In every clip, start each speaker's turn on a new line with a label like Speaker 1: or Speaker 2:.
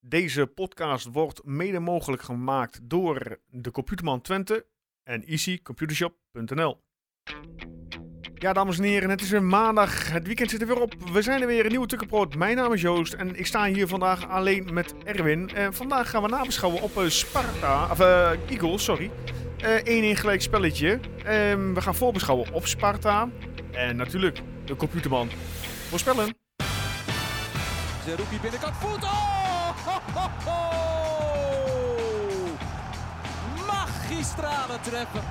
Speaker 1: Deze podcast wordt mede mogelijk gemaakt door de Computerman Twente en easycomputershop.nl. Ja, dames en heren, het is weer maandag. Het weekend zit er weer op. We zijn er weer, een nieuwe Tukkenproot. Mijn naam is Joost en ik sta hier vandaag alleen met Erwin. En vandaag gaan we nabeschouwen op eh, Sparta, of eh, Eagles, sorry. Eh 1-1 gelijk spelletje. Ehm, we gaan voorbeschouwen op Sparta. En natuurlijk de Computerman. Voorspellen.
Speaker 2: Zerouki binnenkant voet. Oh! Ho, ho, ho! Magistrale treppen.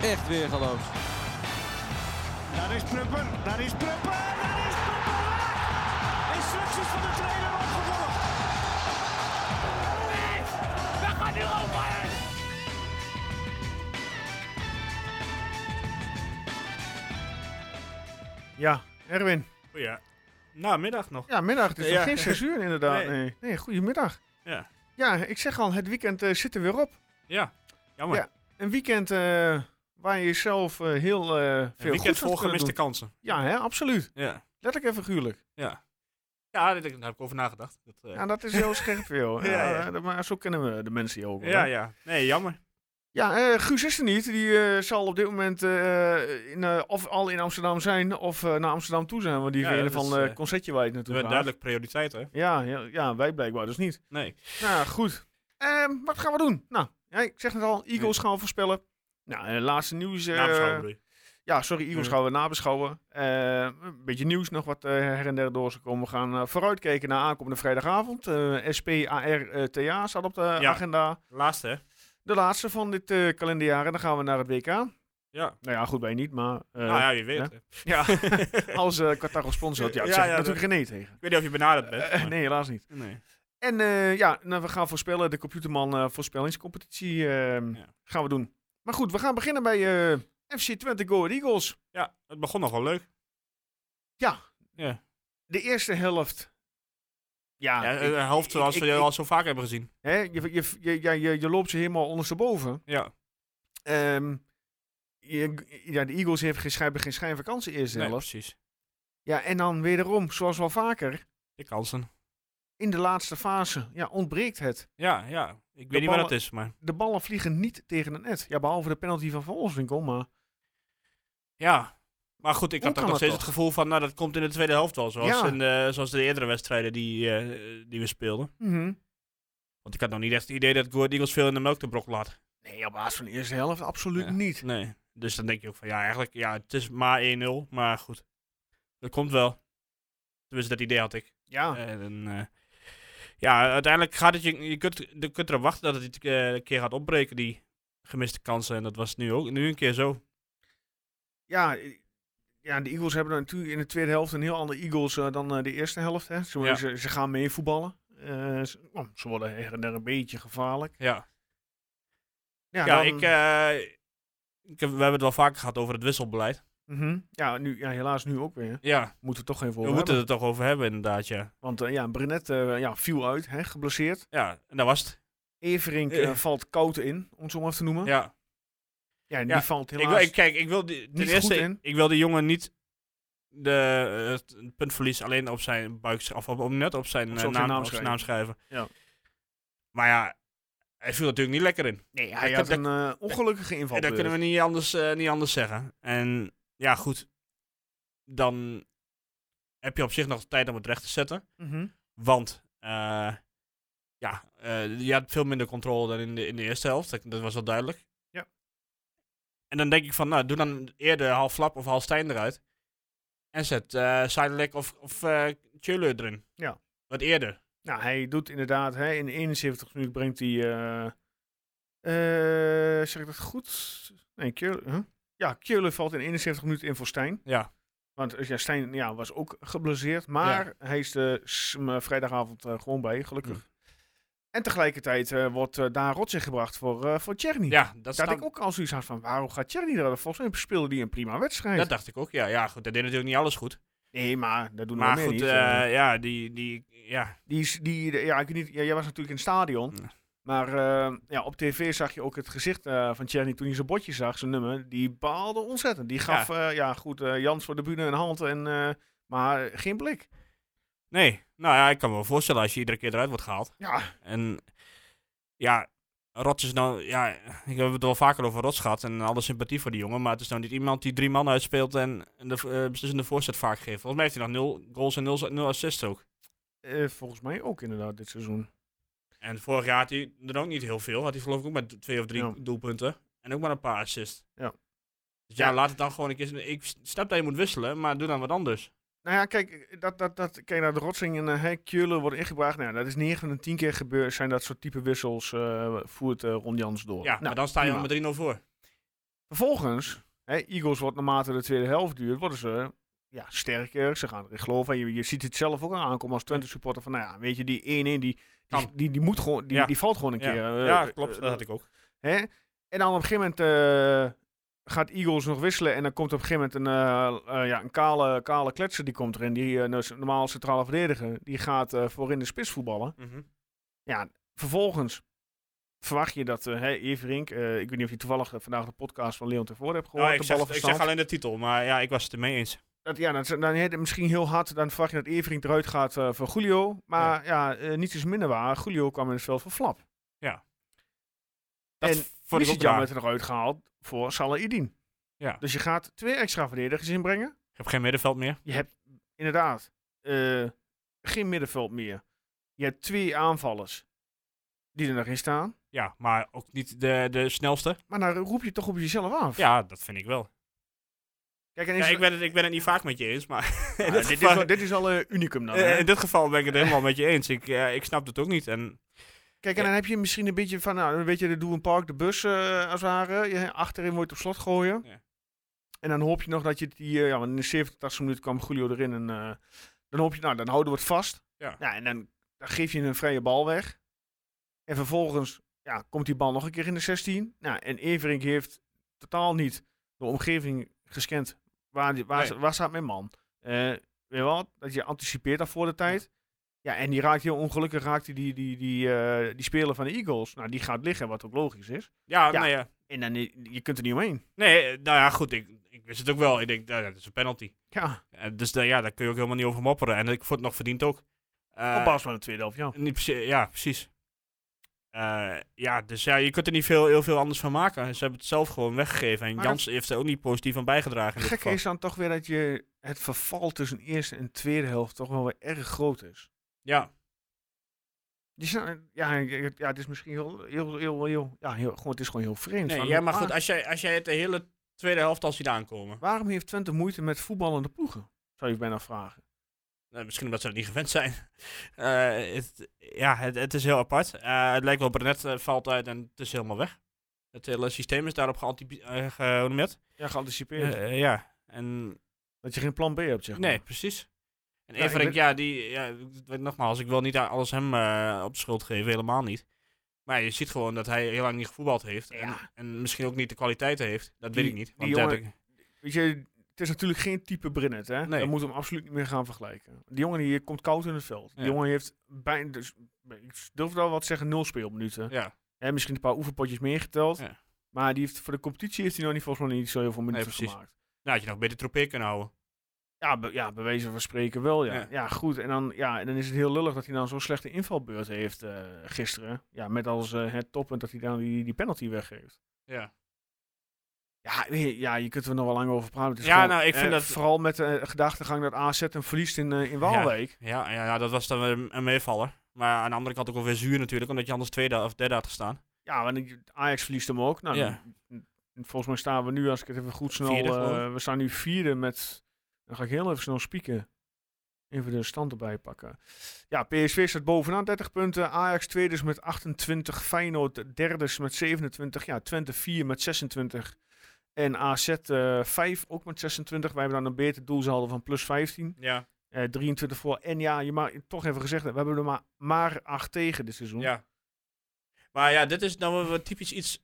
Speaker 2: Echt weer geloof.
Speaker 3: Daar is Prupper, daar is Prupper, daar is Prupper! Instructies van de trainer opgevolgd. We gaan nu over!
Speaker 1: Ja, Erwin.
Speaker 4: Oh Ja. Namiddag nog.
Speaker 1: Ja, middag. Het is nog
Speaker 4: Ja.
Speaker 1: geen zes uur inderdaad. Nee.
Speaker 4: Nee.
Speaker 1: Nee. goedemiddag.
Speaker 4: Ja.
Speaker 1: Ja, ik zeg al, het weekend eh, zit er weer op.
Speaker 4: Ja. Jammer.
Speaker 1: Ja, Een weekend eh, waar je jezelf eh, heel eh,
Speaker 4: Een
Speaker 1: veel
Speaker 4: weekend
Speaker 1: goed
Speaker 4: vol
Speaker 1: voor
Speaker 4: gemiste kansen.
Speaker 1: Ja, hè, absoluut.
Speaker 4: Ja.
Speaker 1: Letterlijk en figuurlijk.
Speaker 4: Ja. Ja, daar, daar heb ik over nagedacht. Dat, eh,
Speaker 1: Ja, Nou, dat is heel scherp veel.
Speaker 4: Ja,
Speaker 1: Ja,
Speaker 4: ja.
Speaker 1: eh, Maar zo kennen we de mensen hier ook. wel,
Speaker 4: ja,
Speaker 1: hè.
Speaker 4: ja. Nee, jammer.
Speaker 1: Ja, eh, Guus is er niet. Die eh, zal op dit moment eh, in, eh, of al in Amsterdam zijn of eh, naar Amsterdam toe zijn. Want die
Speaker 4: Ja,
Speaker 1: reden
Speaker 4: dat
Speaker 1: van
Speaker 4: is,
Speaker 1: eh,
Speaker 4: eh,
Speaker 1: concertje waar je naartoe
Speaker 4: We hebben
Speaker 1: gaat.
Speaker 4: duidelijk prioriteit, hè?
Speaker 1: Ja, ja, ja, wij blijkbaar dus niet.
Speaker 4: Nee.
Speaker 1: Nou, goed. Ehm, wat gaan we doen? Nou, ja, ik zeg het al, Eagles gaan we voorspellen. Nou, eh, laatste nieuws. eh,
Speaker 4: Nabeschouwen bedoel je.
Speaker 1: ja, sorry, Eagles
Speaker 4: Ja.
Speaker 1: gaan we nabeschouwen. Eh, een beetje nieuws nog wat eh, her en der door ze komen. We gaan eh, vooruitkijken naar aankomende vrijdagavond. Eh SPARTA staat op de
Speaker 4: Ja.
Speaker 1: agenda.
Speaker 4: Laatste, hè?
Speaker 1: De laatste van dit eh, kalenderjaar. En dan gaan we naar het WK. Nou
Speaker 4: Ja.
Speaker 1: ja, goed, wij niet, maar... eh,
Speaker 4: nou ja, wie weet.
Speaker 1: hè?
Speaker 4: hè.
Speaker 1: ja. als eh Qatar gesponsord had, ja,
Speaker 4: Ja,
Speaker 1: zeg ik
Speaker 4: ja,
Speaker 1: natuurlijk geen nee tegen.
Speaker 4: Ik weet niet of je benaderd bent.
Speaker 1: Eh,
Speaker 4: maar-
Speaker 1: nee, helaas niet.
Speaker 4: Nee.
Speaker 1: En eh, ja, nou, we gaan voorspellen. De Computerman eh, voorspellingscompetitie ehm,
Speaker 4: Ja.
Speaker 1: gaan we doen. Maar goed, we gaan beginnen bij eh, FC Twente Go Ahead Eagles.
Speaker 4: Ja, het begon nog wel leuk.
Speaker 1: De eerste helft. Ja,
Speaker 4: ja, eh,
Speaker 1: ik-
Speaker 4: de helft zoals
Speaker 1: ik-
Speaker 4: we
Speaker 1: ik-
Speaker 4: al zo vaak hebben gezien.
Speaker 1: hè, je, je, je, ja, je, je loopt ze helemaal ondersteboven.
Speaker 4: Ja.
Speaker 1: Ehm je, ja, de Eagles heeft geen, schijn- hebben geen schijnvakantie eerste
Speaker 4: Nee,
Speaker 1: helft.
Speaker 4: precies.
Speaker 1: Ja, en dan wederom, zoals wel vaker,
Speaker 4: De kansen.
Speaker 1: in de laatste fase ja, ontbreekt het.
Speaker 4: Ja, ja. Ik weet niet
Speaker 1: ballen-
Speaker 4: wat dat is, maar...
Speaker 1: De ballen vliegen niet tegen het net. Ja, behalve de penalty van Van Wolfswinkel, maar...
Speaker 4: Ja. Maar goed, ik
Speaker 1: Hoe
Speaker 4: had
Speaker 1: kan
Speaker 4: toch nog
Speaker 1: dat
Speaker 4: steeds
Speaker 1: toch?
Speaker 4: het gevoel van, nou, dat komt in de tweede helft wel. Zoals,
Speaker 1: Ja.
Speaker 4: in de, zoals de eerdere wedstrijden die, eh, die we speelden.
Speaker 1: mhm.
Speaker 4: Want ik had nog niet echt het idee dat Go Ahead Eagles veel in de melk te brok laat.
Speaker 1: Nee, op basis van de eerste helft absoluut
Speaker 4: Ja.
Speaker 1: niet.
Speaker 4: Nee. Dus dan denk je ook van, ja, eigenlijk, ja, het is maar 1-0. Maar goed, dat komt wel. Tenminste, dat idee had ik.
Speaker 1: Ja,
Speaker 4: En, eh, ja, uiteindelijk gaat het, je, je, kunt, je kunt erop wachten dat het eh, een keer gaat opbreken, die gemiste kansen. En dat was nu ook, nu een keer zo.
Speaker 1: ja, i- ja, de Eagles hebben natuurlijk in de tweede helft een heel ander Eagles eh, dan eh, de eerste helft. Hè. Ze,
Speaker 4: Ja.
Speaker 1: ze, ze gaan mee voetballen. Eh, ze, oh, ze worden her en der een beetje gevaarlijk.
Speaker 4: Ja, ja,
Speaker 1: dan-
Speaker 4: ik, eh, ik heb- we hebben het wel vaker gehad over het wisselbeleid.
Speaker 1: Mhm. ja, nu, ja, helaas nu ook weer.
Speaker 4: Ja,
Speaker 1: Moeten we toch even
Speaker 4: we
Speaker 1: over hebben.
Speaker 4: moeten het er toch over hebben inderdaad, ja.
Speaker 1: Want eh, ja, Brenet eh, ja, viel uit, hè, geblesseerd.
Speaker 4: Ja, en dat was het.
Speaker 1: Everink
Speaker 4: Eh.
Speaker 1: eh, valt koud in, om het zo maar te noemen. Ja,
Speaker 4: Ja.
Speaker 1: die
Speaker 4: ja.
Speaker 1: valt
Speaker 4: Ik wil,
Speaker 1: helaas...
Speaker 4: ik, kijk, ik wil die, ten
Speaker 1: niet
Speaker 4: eerste,
Speaker 1: goed in.
Speaker 4: ik wil die jongen niet de, eh, het het puntverlies alleen op zijn buik, sch- of op, op- net op zijn,
Speaker 1: Op
Speaker 4: eh,
Speaker 1: zijn
Speaker 4: naam,
Speaker 1: naam
Speaker 4: op zijn naam schrijven.
Speaker 1: Ja.
Speaker 4: Maar ja, hij viel natuurlijk niet lekker in.
Speaker 1: nee, hij
Speaker 4: kijk,
Speaker 1: had
Speaker 4: dat-
Speaker 1: een eh, ongelukkige inval.
Speaker 4: En dat kunnen we niet anders, eh, niet anders zeggen. En ja, goed. Dan heb je op zich nog tijd om het recht te zetten.
Speaker 1: Mhm.
Speaker 4: Want eh, ja, eh, je had veel minder controle dan in de, in de eerste helft. Dat, dat was wel duidelijk.
Speaker 1: Ja.
Speaker 4: En dan denk ik van, nou, doe dan eerder half Flap of half Stijn eruit. En zet eh Sidelec of, of eh Tjöller erin.
Speaker 1: Ja.
Speaker 4: Wat eerder.
Speaker 1: Nou, hij doet inderdaad, hè, in 71 minuten brengt hij. eh, eh, zeg ik dat goed? Nee, Keulen. huh? Ja, Keulen valt in 71 minuten in voor Stijn.
Speaker 4: Ja.
Speaker 1: Want eh, ja, Stijn ja, was ook geblesseerd. Maar hij is de s- m- vrijdagavond eh, gewoon bij, gelukkig.
Speaker 4: Mm.
Speaker 1: En tegelijkertijd eh, wordt eh, Daan Rotz gebracht voor, eh voor Tjerni.
Speaker 4: Ja, dat,
Speaker 1: Dat
Speaker 4: staat-
Speaker 1: ik ook al zoiets had van, waarom gaat Tjerni eruit? Volgens mij speelde die een prima wedstrijd.
Speaker 4: dat dacht ik ook. Ja, ja, goed. Dat deed natuurlijk niet alles goed.
Speaker 1: nee, maar dat doen we
Speaker 4: maar
Speaker 1: meer
Speaker 4: goed,
Speaker 1: niet. eh.
Speaker 4: eh, ja, die, die, ja,
Speaker 1: Die, is- die, de- ja, ik weet niet, ja, jij was natuurlijk in het stadion.
Speaker 4: Ja.
Speaker 1: Maar eh, ja, op tv zag je ook het gezicht eh, van Tjerni toen hij zijn botje zag, zijn nummer. Die baalde ontzettend. Die gaf, ja, ja goed, eh, Jans voor de bühne een hand, en, eh, maar geen eh, blik.
Speaker 4: Nee, nou ja, ik kan me wel voorstellen als je iedere keer eruit wordt gehaald.
Speaker 1: Ja,
Speaker 4: En ja, Rots is nou, ja, ik heb het wel vaker over Rots gehad en alle sympathie voor die jongen. Maar het is nou niet iemand die drie man uitspeelt en de eh, beslissende voorzet vaak geeft. Volgens mij heeft hij nog nul goals en nul, nul assists ook.
Speaker 1: eh, volgens mij ook inderdaad dit seizoen.
Speaker 4: En vorig jaar had hij er ook niet heel veel. Had hij geloof ik ook maar d- twee of drie
Speaker 1: Ja.
Speaker 4: doelpunten. En ook maar een paar assists.
Speaker 1: Ja.
Speaker 4: Dus ja,
Speaker 1: Ja.
Speaker 4: laat het dan gewoon een keer... Ik snap dat je moet wisselen, maar doe dan wat anders.
Speaker 1: Nou ja, kijk, dat, dat, dat, kijk naar de rotsing en uh, Keulen worden ingebracht. Nou, ja, dat is 9 van de 10 keer gebeurd. Zijn dat soort type wissels eh, voert eh Ron Jans door.
Speaker 4: ja,
Speaker 1: Nou,
Speaker 4: maar dan sta je al
Speaker 1: prima.
Speaker 4: met 3-0 voor.
Speaker 1: Vervolgens, hè, Eagles wordt naarmate de tweede helft duurt, worden ze ja, sterker. Ze gaan erin geloven. En je, je ziet het zelf ook aan aankomen als Twente supporter. Van, nou ja, weet je, die 1-1, die, die,
Speaker 4: Kan.
Speaker 1: die, die, moet gewoon, die,
Speaker 4: Ja.
Speaker 1: die valt gewoon een
Speaker 4: Ja,
Speaker 1: keer. eh,
Speaker 4: ja,
Speaker 1: eh,
Speaker 4: klopt.
Speaker 1: eh,
Speaker 4: dat had ik ook.
Speaker 1: hè? En dan op een gegeven moment eh, gaat Eagles nog wisselen. En dan komt op een gegeven moment een, eh, eh, ja, een kale, kale kletser die komt erin. Die eh, nou, is een normaal centrale verdediger. Die gaat eh voorin de spits voetballen.
Speaker 4: Mhm.
Speaker 1: Ja, vervolgens verwacht je dat eh hè, Everink, eh, ik weet niet of je toevallig eh, vandaag de podcast van Leon Tevoort hebt gehoord.
Speaker 4: Nou, ik,
Speaker 1: de
Speaker 4: zeg, ik
Speaker 1: ballenverstand.
Speaker 4: zeg alleen de titel, maar ja, ik was het ermee eens.
Speaker 1: Dat, ja, dan, dan heet het misschien heel hard. Dan verwacht je dat Everink eruit gaat eh, voor Julio. Maar ja, eh, niets is minder waar. Julio kwam in het veld voor Flap.
Speaker 4: Dat
Speaker 1: En
Speaker 4: vond ik ook
Speaker 1: Missie Jam
Speaker 4: raar.
Speaker 1: werd eruit gehaald voor Salah Idin.
Speaker 4: Ja.
Speaker 1: Dus je gaat twee extra verdedigers inbrengen.
Speaker 4: Ik heb geen middenveld meer.
Speaker 1: Je hebt inderdaad eh, geen middenveld meer. Je hebt twee aanvallers die er nog in staan.
Speaker 4: Ja, maar ook niet de, de snelste.
Speaker 1: Maar dan roep je toch op jezelf af.
Speaker 4: Ja, dat vind ik wel.
Speaker 1: Kijk, en
Speaker 4: Ja,
Speaker 1: is-
Speaker 4: ik, ben het, ik ben het niet vaak met je eens, maar... in
Speaker 1: Ah,
Speaker 4: dit
Speaker 1: dit, dit, is
Speaker 4: geval-
Speaker 1: wel- dit is al een unicum dan.
Speaker 4: eh,
Speaker 1: hè?
Speaker 4: in dit geval ben ik het helemaal met je eens. Ik, eh, ik snap het ook niet. En
Speaker 1: Kijk, en dan heb je misschien een beetje van, nou, weet je, de Doen Park, de bus eh, als het ware. Je, achterin moet je het op slot gooien.
Speaker 4: Ja.
Speaker 1: En dan hoop je nog dat je die, eh, ja, want in de 87 minuten kwam Julio erin. En eh, dan hoop je, nou, dan houden we het vast.
Speaker 4: Ja.
Speaker 1: en dan, dan geef je een vrije bal weg. En vervolgens, ja, komt die bal nog een keer in de 16. Nou, en Everink heeft totaal niet de omgeving gescand. Waar, die- waar,
Speaker 4: Nee.
Speaker 1: waar staat mijn man? Eh, weet je wat? Dat je anticipeert dat voor de tijd. Ja, en die raakt heel ongelukkig raakt die, die, die, die, eh, die speler van de Eagles. Nou, die gaat liggen, wat ook logisch is.
Speaker 4: ja,
Speaker 1: Ja.
Speaker 4: nou ja.
Speaker 1: En dan, je kunt er niet omheen.
Speaker 4: Nee, nou ja, goed. Ik, ik wist het ook wel. Ik denk, nou, dat is een penalty.
Speaker 1: Ja,
Speaker 4: Eh, dus eh, ja, daar kun je ook helemaal niet over mopperen. En ik vond het nog verdiend ook. Eh,
Speaker 1: op basis van de tweede helft, ja.
Speaker 4: Niet precies, ja, precies. Eh, ja, dus ja, je kunt er niet veel, heel veel anders van maken. Ze hebben het zelf gewoon weggegeven. En
Speaker 1: Maar
Speaker 4: Jans heeft er ook niet positief aan bijgedragen. In dit
Speaker 1: Gek
Speaker 4: geval.
Speaker 1: is dan toch weer dat je het verval tussen eerste en tweede helft toch wel weer erg groot is.
Speaker 4: Ja,
Speaker 1: Je snapt- ja, ja, ja, het is misschien heel, heel, heel, heel, ja, heel gewoon, het is gewoon heel vreemd.
Speaker 4: nee,
Speaker 1: Van,
Speaker 4: ja maar
Speaker 1: waar-
Speaker 4: goed, als jij, als jij het de hele tweede helft al ziet aankomen.
Speaker 1: Waarom heeft Twente moeite met voetballende ploegen? Zou je bijna vragen.
Speaker 4: Nou, misschien omdat ze het niet gewend zijn. Eh, het, ja, het, het is heel apart. Eh, het lijkt wel Brenet eh, valt uit en het is helemaal weg. Het hele systeem is daarop geantipi- eh, ge- hoe noem je dat?
Speaker 1: Ja, geanticipeerd.
Speaker 4: Eh, eh, ja, en
Speaker 1: dat je geen plan B hebt, zeg maar.
Speaker 4: Nee, precies. En
Speaker 1: Ja, ik
Speaker 4: Everink,
Speaker 1: ben-
Speaker 4: ja, die, ja, ik weet- nogmaals, ik wil niet a- alles hem eh, op de schuld geven, helemaal niet. Maar je ziet gewoon dat hij heel lang niet gevoetbald heeft. En,
Speaker 1: Ja.
Speaker 4: en misschien ook niet de kwaliteiten heeft. Dat
Speaker 1: Die-
Speaker 4: weet ik niet.
Speaker 1: die
Speaker 4: Want ja,
Speaker 1: jongen- Weet je, het is natuurlijk geen type Brinnet, hè?
Speaker 4: Nee.
Speaker 1: Dan moeten we hem absoluut niet meer gaan vergelijken. Die jongen die komt koud in het veld. Die
Speaker 4: Ja.
Speaker 1: jongen heeft bijna, dus, ik durf wel wat te zeggen, nul speelminuten.
Speaker 4: dat- ja,
Speaker 1: Hè, misschien een paar oefenpotjes meegeteld.
Speaker 4: Ja.
Speaker 1: Maar die heeft, voor de competitie heeft hij nog niet, volgens mij niet zo heel veel minuten
Speaker 4: precies.
Speaker 1: gemaakt.
Speaker 4: nou had je nog beter Tropeer kunnen houden.
Speaker 1: Ja, be, ja, bij wijze van spreken wel, ja.
Speaker 4: Ja.
Speaker 1: Ja, goed. En dan, ja, en dan is het heel lullig dat hij dan zo'n slechte invalbeurt heeft eh, gisteren. Ja, met als eh, het toppunt dat hij dan die, die penalty weggeeft.
Speaker 4: Ja.
Speaker 1: Ja, weet je- ja, je kunt er nog wel lang over praten. Het is
Speaker 4: Ja,
Speaker 1: gewoon,
Speaker 4: nou, ik
Speaker 1: eh,
Speaker 4: vind dat-
Speaker 1: Vooral met de eh, gedachtegang dat AZ hem verliest in, eh, in Waalwijk.
Speaker 4: Ja, ja, ja, dat was dan een, een meevaller. Maar aan de andere kant ook wel weer zuur natuurlijk, omdat je anders tweede of derde had gestaan.
Speaker 1: Ja, want ik- Ajax verliest hem ook. Nou,
Speaker 4: Ja.
Speaker 1: n- n- Volgens mij staan we nu, als ik het even goed snel...
Speaker 4: Vierde,
Speaker 1: eh,
Speaker 4: geloof
Speaker 1: we staan nu vierde met... Dan ga ik heel even snel spieken. Even de stand erbij pakken. Ja, PSV staat bovenaan 30 punten. Ajax tweede is met 28. Feyenoord derde is met 27. Ja, Twente 4 met 26. En AZ eh 5 ook met 26. Wij hebben dan een beter doelsaldo van plus 15.
Speaker 4: Ja,
Speaker 1: Eh, 23 voor. En ja, je mag toch even gezegd, we hebben er maar, maar 8 tegen dit seizoen.
Speaker 4: Ja. Maar ja, dit is nou wel wat typisch iets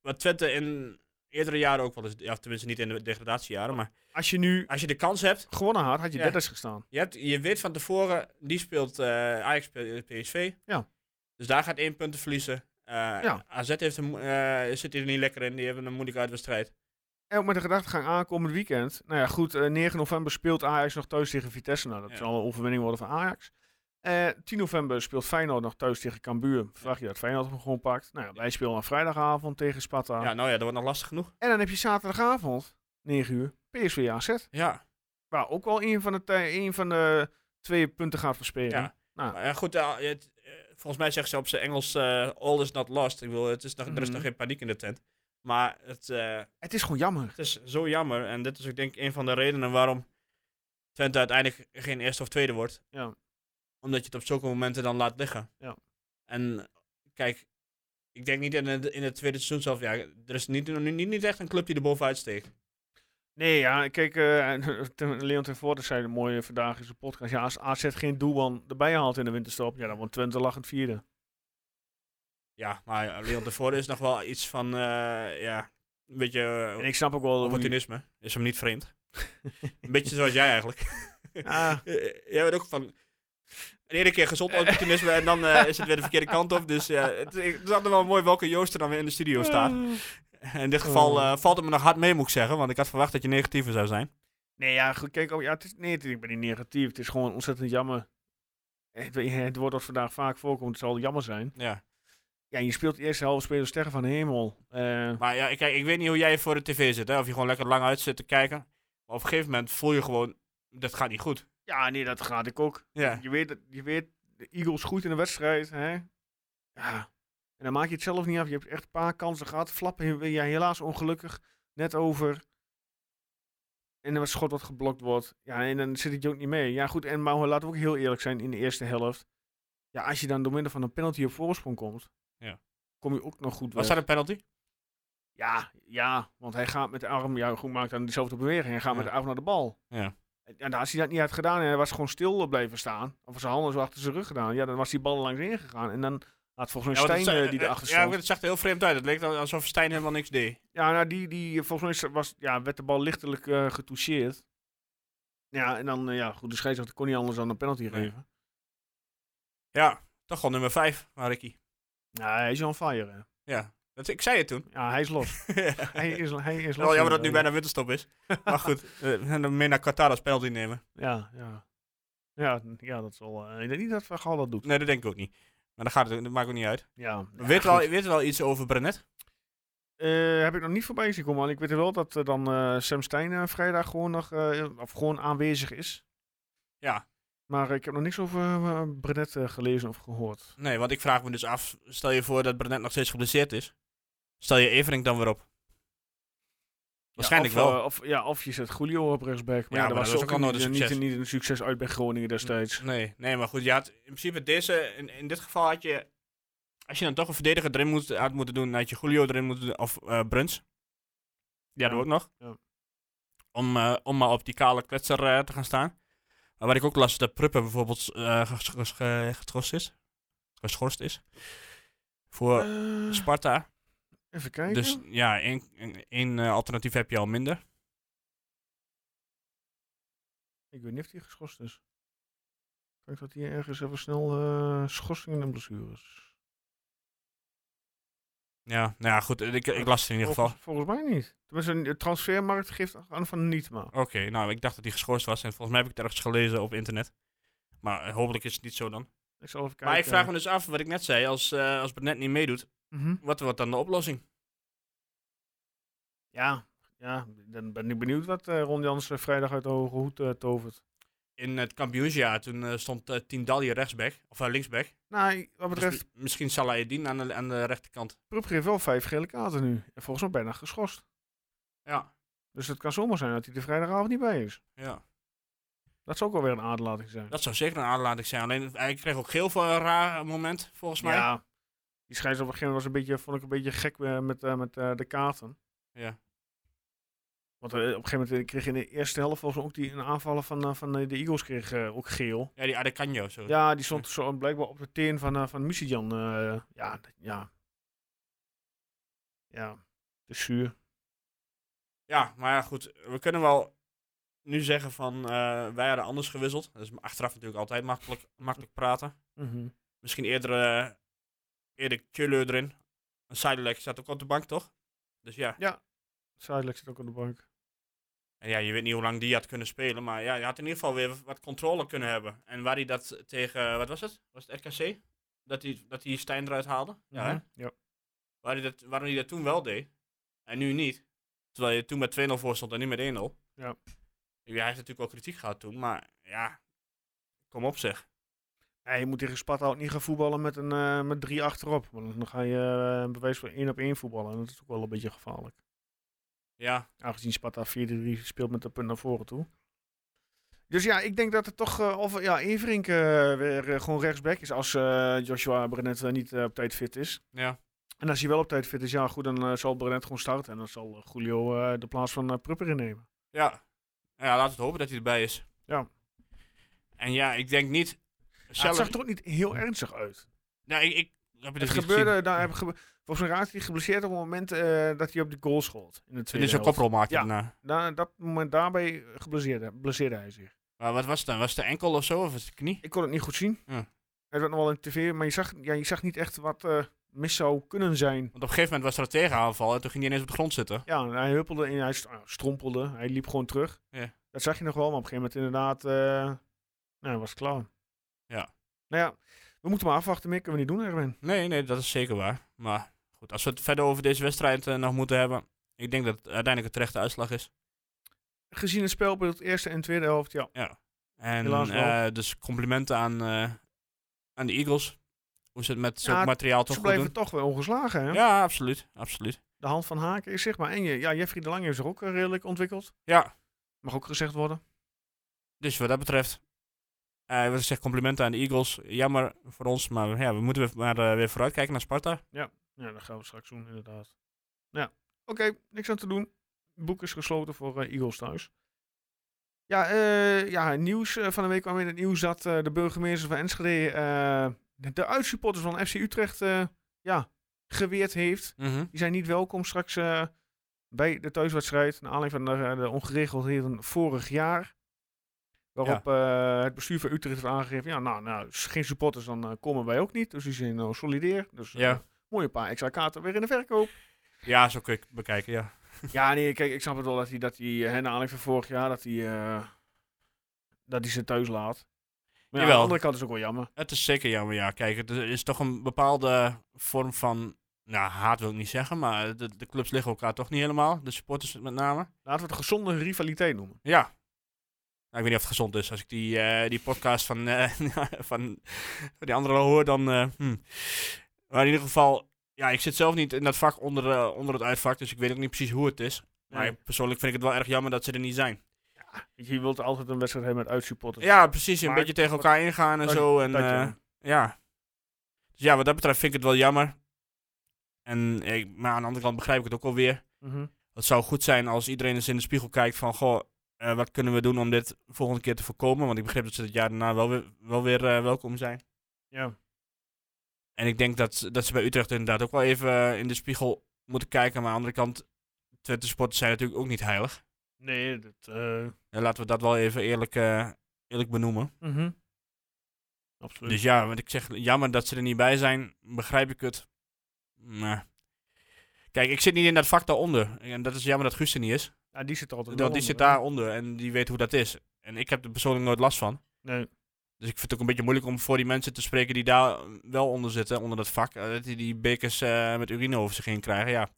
Speaker 4: wat Twente in eerdere jaren ook wel eens, ja, tenminste niet in de degradatiejaren, maar
Speaker 1: Als je nu
Speaker 4: als je de kans hebt,
Speaker 1: gewonnen had, had je
Speaker 4: Ja.
Speaker 1: derde gestaan.
Speaker 4: je, hebt, je weet van tevoren, die speelt eh, Ajax speelt PSV.
Speaker 1: Ja.
Speaker 4: Dus daar gaat één punt te verliezen. Eh,
Speaker 1: Ja.
Speaker 4: AZ heeft een, mo- eh, zit er niet lekker in, die hebben een moeilijke uitwedstrijd.
Speaker 1: En ook met de gedachtegang aankomend weekend. Nou ja, goed, eh, 9 november speelt Ajax nog thuis tegen Vitesse. Nou, dat
Speaker 4: Ja.
Speaker 1: zal een overwinning worden van Ajax. Eh, 10 november speelt Feyenoord nog thuis tegen Cambuur. Vraag je dat Feyenoord hem gewoon pakt. Nou ja, wij spelen aan vrijdagavond tegen Sparta.
Speaker 4: Ja, nou ja, dat wordt nog lastig genoeg.
Speaker 1: En dan heb je zaterdagavond, 9 uur, PSV AZ.
Speaker 4: Ja,
Speaker 1: Waar ook wel een van de, tij- een van de twee punten gaat verspelen.
Speaker 4: ja.
Speaker 1: Nou.
Speaker 4: Maar ja, goed, eh, het- eh, volgens mij zeggen ze op zijn Engels, eh, all is not lost. Ik bedoel, het is nog, er is
Speaker 1: Mhm.
Speaker 4: nog geen paniek in de tent. Maar het, eh,
Speaker 1: Het is gewoon jammer.
Speaker 4: het is zo jammer. En dit is ook denk ik een van de redenen waarom Twente uiteindelijk geen eerste of tweede wordt.
Speaker 1: Ja.
Speaker 4: Omdat je het op zulke momenten dan laat liggen.
Speaker 1: Ja.
Speaker 4: En kijk, ik denk niet in het, in het tweede seizoen zelf. Ja, er is niet, nu niet, niet echt een club die er bovenuit steekt.
Speaker 1: Nee, ja, kijk, eh, ten- Leon ten Voorde zei het mooie vandaag in zijn podcast. Ja, als AZ geen doelman erbij haalt in de winterstop, ja, dan wordt Twente lachend vierde.
Speaker 4: Ja, maar Leon tevoren is nog wel iets van, eh, ja, een beetje eh,
Speaker 1: En ik snap ook wel... hoe je-
Speaker 4: opportunisme. Is hem niet vreemd. een beetje zoals jij eigenlijk.
Speaker 1: Ah,
Speaker 4: Eh, jij bent ook van, een ene keer gezond opportunisme en dan eh, is het weer de verkeerde kant op. Dus ja, het, ik- het is altijd wel mooi welke Joost er dan weer in de studio staat. In dit geval eh, valt het me nog hard mee, moet ik zeggen, want ik had verwacht dat je negatiever zou zijn.
Speaker 1: Nee, ja, goed, kijk, oh, ja, het is, nee, het- ik ben niet negatief. Het is gewoon ontzettend jammer. Het, het woord dat vandaag vaak voorkomt, het zal jammer zijn.
Speaker 4: Ja.
Speaker 1: Ja, je speelt de eerste helft, spelen Sterren van de Hemel. Eh,
Speaker 4: Maar ja, ik- kijk, ik weet niet hoe jij voor de tv zit, hè? of je gewoon lekker lang uit zit te kijken. Maar op een gegeven moment voel je gewoon, dat gaat niet goed.
Speaker 1: ja, nee, dat gaat ik ook.
Speaker 4: Ja.
Speaker 1: Je weet, dat- je weet, de Eagles goed in de wedstrijd, hè? Ja. En dan maak je het zelf niet af. Je hebt echt een paar kansen gehad. Flappen wil ja, helaas ongelukkig net over. En dan schot wat geblokt wordt. Ja, en dan zit het je ook niet mee. Ja, goed. En maar laten we ook heel eerlijk zijn in de eerste helft. Ja, als je dan door middel van een penalty op voorsprong komt,
Speaker 4: Ja.
Speaker 1: kom je ook nog goed
Speaker 4: Was
Speaker 1: weg.
Speaker 4: dat een penalty?
Speaker 1: Ja, ja, want hij gaat met de arm, ja, goed maakt dan dezelfde beweging. Hij gaat met
Speaker 4: Ja.
Speaker 1: de arm naar de bal.
Speaker 4: Ja.
Speaker 1: En, en als hij dat niet had gedaan en hij was gewoon stil blijven staan, of zijn handen zo achter zijn rug gedaan, ja, dan was die bal er langs ingegaan. En dan had volgens mij
Speaker 4: want het
Speaker 1: Stijn
Speaker 4: zag-
Speaker 1: eh, die
Speaker 4: eh,
Speaker 1: erachter
Speaker 4: Ja,
Speaker 1: stond. Ja,
Speaker 4: het zag er heel vreemd uit. Het leek dan alsof Stijn helemaal niks deed.
Speaker 1: nou, die, die, volgens mij was, ja, werd de bal lichtelijk eh, getoucheerd. Ja, en dan, eh, ja, goed, de scheidsrechter kon niet anders dan een penalty geven.
Speaker 4: Ja, toch wel nummer 5 van Ricky.
Speaker 1: Ja, hij is on fire, hè.
Speaker 4: Ja, dat, ik zei het toen.
Speaker 1: Ja, hij is los. hij is, hij is los. eh.
Speaker 4: Wel jammer dat het nu
Speaker 1: Ja.
Speaker 4: bijna winterstop is. Maar goed, eh, en dan meer naar Qatar als penalty nemen.
Speaker 1: Ja, ja. Ja, ja, dat zal... eh, ik denk niet dat Van Gaal dat doet.
Speaker 4: Nee, dat denk ik ook niet. Maar dat, gaat, het- dat maakt ook niet uit.
Speaker 1: Ja, ja,
Speaker 4: weet,
Speaker 1: goed.
Speaker 4: wel, weet wel iets over Brenet?
Speaker 1: Eh, heb ik nog niet voorbij zien komen. maar Ik weet wel dat eh, dan eh, Sam Stein eh, vrijdag gewoon nog eh, of gewoon aanwezig is.
Speaker 4: Ja.
Speaker 1: Maar ik heb nog niks over eh, Brenet eh, gelezen of gehoord.
Speaker 4: Nee, want ik vraag me dus af. Stel je voor dat Brenet nog steeds geblesseerd is. Stel je Everink dan weer op. Waarschijnlijk
Speaker 1: Ja, of,
Speaker 4: wel.
Speaker 1: eh, of, ja, of je zet Julio op rechtsback. Maar ja, dat was ook
Speaker 4: al nooit
Speaker 1: niet,
Speaker 4: een
Speaker 1: niet,
Speaker 4: succes.
Speaker 1: niet een succes uit bij Groningen destijds.
Speaker 4: Nee, nee, maar goed. Je had in principe deze... In, in dit geval had je... Als je dan toch een verdediger erin moet, had moeten doen, dan had je Julio erin moeten doen. Of eh Bruns. Die hadden we ook nog.
Speaker 1: Ja.
Speaker 4: Om, eh, om maar op die kale kletser eh, te gaan staan. Maar wat ik ook las, is dat Pruppen bijvoorbeeld eh, ges- ges- ge- geschorst is. Geschorst is. Voor
Speaker 1: Eh,
Speaker 4: Sparta.
Speaker 1: even kijken.
Speaker 4: Dus ja, één, één- één eh, alternatief heb je al minder.
Speaker 1: Ik weet niet of hij geschorst is. Kijk dat hier ergens even snel eh, schorsingen en blessures.
Speaker 4: Ja, nou ja, goed. Ik, ik las het in ieder geval.
Speaker 1: Volgens, volgens mij niet. Tenminste, de transfermarkt geeft aan van niet, maar...
Speaker 4: Oké, nou, ik dacht dat hij geschorst was. En volgens mij heb ik het ergens gelezen op internet. Maar eh, hopelijk is het niet zo dan.
Speaker 1: Ik zal even kijken.
Speaker 4: Maar ik vraag me dus af, wat ik net zei, als, eh als Brenet niet meedoet,
Speaker 1: Mhm.
Speaker 4: wat wordt dan de oplossing?
Speaker 1: Ja, ja, dan ben ik benieuwd wat eh, Ron Jans eh, vrijdag uit de hoge hoed eh, tovert.
Speaker 4: In het kampioensjaar, toen eh, stond eh Tindalli rechtsback, of eh, linksback.
Speaker 1: Nou, i- wat
Speaker 4: Dus
Speaker 1: betreft,
Speaker 4: mi- misschien Salah Eddin aan de, aan de rechterkant.
Speaker 1: Prup geeft wel vijf gele kaarten nu. En volgens mij bijna geschorst.
Speaker 4: Ja,
Speaker 1: Dus het kan zomaar zijn dat hij er vrijdagavond niet bij is.
Speaker 4: ja.
Speaker 1: Dat zou ook alweer een aderlating zijn.
Speaker 4: Dat zou zeker een aanlating zijn. Alleen, eh, hij kreeg ook geel voor een raar moment, volgens mij.
Speaker 1: Ja, die scheids op een gegeven moment was een beetje, vond ik een beetje gek eh, met, eh, met eh, de kaarten.
Speaker 4: Ja.
Speaker 1: Want eh, op een gegeven moment kreeg je in de eerste helft volgens mij ook die een aanvallen van, eh, van eh, de Eagles kreeg eh, ook geel.
Speaker 4: Ja, die Adecanyo. Zo.
Speaker 1: Ja, die stond zo blijkbaar op de teen van, eh van Musijan. eh, ja, d- ja. Ja, het is zuur.
Speaker 4: Ja, maar ja, goed. We kunnen wel nu zeggen van eh, wij hadden anders gewisseld. Dat is achteraf natuurlijk altijd makkelijk, makkelijk praten. Misschien eerder, eh eerder Tjöllö erin. Een Sidelec zat ook op de bank, toch? Dus ja.
Speaker 1: Ja. Sidelijk zit ook op de bank.
Speaker 4: En ja, je weet niet hoe lang die had kunnen spelen, maar ja, je had in ieder geval weer wat controle kunnen hebben. En waar hij dat tegen, eh, wat was het? Was het RKC? Dat hij, dat hij Stijn eruit haalde? Ja, hè?
Speaker 1: Mhm, ja.
Speaker 4: Waar hij dat, waarom hij dat toen wel deed en nu niet. Terwijl je toen met 2-0 voor stond en nu met 1-0.
Speaker 1: Ja.
Speaker 4: Ja, Hij heeft natuurlijk wel kritiek gehad toen, maar ja, kom op zeg.
Speaker 1: Ja, je moet tegen Sparta ook niet gaan voetballen met, een, eh, met drie achterop. Want dan ga je eh, bewijs van één op één voetballen. En dat is ook wel een beetje gevaarlijk.
Speaker 4: Ja,
Speaker 1: Aangezien Sparta 4-3 speelt met de punt naar voren toe. Dus ja, ik denk dat het toch... eh, of ja, Everink eh, weer eh, gewoon rechtsback is als eh, Joshua Brenet niet eh, op tijd fit is.
Speaker 4: ja.
Speaker 1: En als hij wel op tijd fit is, ja goed, dan eh, zal Brenet gewoon starten. En dan zal eh, Julio eh, de plaats van eh, Prupper innemen.
Speaker 4: Ja. Ja, laten we hopen dat hij erbij is.
Speaker 1: Ja.
Speaker 4: En ja, ik denk niet...
Speaker 1: Ja, het
Speaker 4: Zelf,
Speaker 1: zag er ook niet heel ernstig uit.
Speaker 4: nou, ik, ik heb je
Speaker 1: Het
Speaker 4: dus niet
Speaker 1: gebeurde,
Speaker 4: gezien.
Speaker 1: daar heb gebe- volgens mij raakte hij geblesseerd op het moment eh, dat hij op de goal schoot. In de
Speaker 4: Toen
Speaker 1: tweede
Speaker 4: is een
Speaker 1: helft.
Speaker 4: koprol Nou, maakte.
Speaker 1: Ja.
Speaker 4: daarna.
Speaker 1: Na, dat moment daarbij geblesseerde, blesseerde hij zich.
Speaker 4: Maar wat was het dan? Was het de enkel of zo? Of was het de knie?
Speaker 1: Ik kon het niet goed zien.
Speaker 4: Ja.
Speaker 1: Het werd nog wel in tv, maar je zag, ja, je zag niet echt wat eh, mis zou kunnen zijn.
Speaker 4: Want op een gegeven moment was er een tegenaanval en toen ging hij ineens op de grond zitten.
Speaker 1: Ja, en hij huppelde en hij st- ah, strompelde. Hij liep gewoon terug.
Speaker 4: Ja.
Speaker 1: Dat zag je nog wel, maar op een gegeven moment inderdaad, eh nou, hij was klaar.
Speaker 4: Ja.
Speaker 1: Nou ja, we moeten maar afwachten, meer kunnen we niet doen, Erwin.
Speaker 4: Nee, nee, dat is zeker waar. Maar goed, als we het verder over deze wedstrijd eh, nog moeten hebben. Ik denk dat het uiteindelijk een terechte uitslag is.
Speaker 1: Gezien het speelbeeld eerste en tweede helft, ja.
Speaker 4: En
Speaker 1: Helaas wel.
Speaker 4: eh, dus complimenten aan, eh, aan de Eagles. Hoe ze het met zo'n
Speaker 1: Ja,
Speaker 4: materiaal toch
Speaker 1: Ze
Speaker 4: goed
Speaker 1: bleven
Speaker 4: doen.
Speaker 1: toch weer ongeslagen, hè?
Speaker 4: Ja, absoluut. absoluut.
Speaker 1: de hand van Haken is zichtbaar. En je, ja, Jeffrey de Lange heeft zich ook eh, redelijk ontwikkeld.
Speaker 4: Ja,
Speaker 1: Mag ook gezegd worden.
Speaker 4: Dus wat dat betreft, eh wat ik zeg, complimenten aan de Eagles. Jammer voor ons, maar ja, we moeten weer, maar eh, weer vooruitkijken naar Sparta.
Speaker 1: Ja, dat gaan we straks doen, inderdaad. Ja, oké, niks aan te doen. Het boek is gesloten voor eh, Eagles thuis. Ja, eh, ja nieuws eh, van de week kwam in het nieuws dat eh, de burgemeester van Enschede eh, de- de uitsupporters van FC Utrecht eh, ja, geweerd heeft. Die zijn niet welkom straks eh, bij de thuiswedstrijd. Naar aanleiding van de, eh, de ongeregeldheden vorig jaar. Waarop eh, het bestuur van Utrecht heeft aangegeven. Ja, nou, nou s- geen supporters, dan eh, komen wij ook niet. Dus die zijn nou solidair. Dus eh,
Speaker 4: Ja.
Speaker 1: mooi een paar extra kaarten weer in de verkoop.
Speaker 4: Ja, zo kun je het bekijken, ja.
Speaker 1: ja, nee, kijk, ik snap het wel dat hij, dat hij eh, hè, naar aanleiding van vorig jaar, dat hij, eh, dat hij ze thuis laat. Maar ja, aan de
Speaker 4: Jawel.
Speaker 1: andere kant is het ook wel jammer.
Speaker 4: Het is zeker jammer, ja. Kijk, het is- is toch een bepaalde vorm van, nou, haat wil ik niet zeggen, maar de, de clubs liggen elkaar toch niet helemaal. De supporters met name.
Speaker 1: Laten we het een gezonde rivaliteit noemen.
Speaker 4: Ja. Nou, ik weet niet of het gezond is. Als ik die, eh, die podcast van, eh, van, van die andere hoor, dan... eh, hm. Maar in ieder geval, ja, ik zit zelf niet in dat vak onder, eh, onder het uitvak, dus ik weet ook niet precies hoe het is. Maar
Speaker 1: Nee.
Speaker 4: persoonlijk vind ik het wel erg jammer dat ze er niet zijn.
Speaker 1: Weet Je je wilt altijd een wedstrijd hebben met uitsupporters.
Speaker 4: Ja, precies. Een
Speaker 1: maar-
Speaker 4: beetje tegen elkaar ingaan en
Speaker 1: dat-
Speaker 4: zo. En,
Speaker 1: dat
Speaker 4: eh,
Speaker 1: jammer.
Speaker 4: ja. Dus ja, wat dat betreft vind ik het wel jammer. En, ik, maar aan de andere kant begrijp ik het ook wel weer.
Speaker 1: Mhm.
Speaker 4: Het zou goed zijn als iedereen eens in de spiegel kijkt van, goh, eh, wat kunnen we doen om dit volgende keer te voorkomen? Want ik begreep dat ze het jaar daarna wel weer, wel weer eh, welkom zijn.
Speaker 1: ja.
Speaker 4: En ik denk dat, dat ze bij Utrecht inderdaad ook wel even eh, in de spiegel moeten kijken. Maar aan de andere kant, Twente supporters zijn natuurlijk ook niet heilig.
Speaker 1: Nee, dat... eh,
Speaker 4: En laten we dat wel even eerlijk, eh, eerlijk benoemen.
Speaker 1: Mhm. Absoluut.
Speaker 4: Dus ja, wat ik zeg, jammer dat ze er niet bij zijn. Begrijp ik het. Maar... Kijk, ik zit niet in dat vak daaronder. En dat is jammer dat Guus er niet is.
Speaker 1: ja, die zit altijd
Speaker 4: Want die zit daaronder en die weet hoe dat is. En ik heb er persoonlijk nooit last van.
Speaker 1: Nee.
Speaker 4: Dus ik vind het ook een beetje moeilijk om voor die mensen te spreken die daar wel onder zitten, onder dat vak. eh, Dat die die bekers eh, met urine over zich heen krijgen, ja.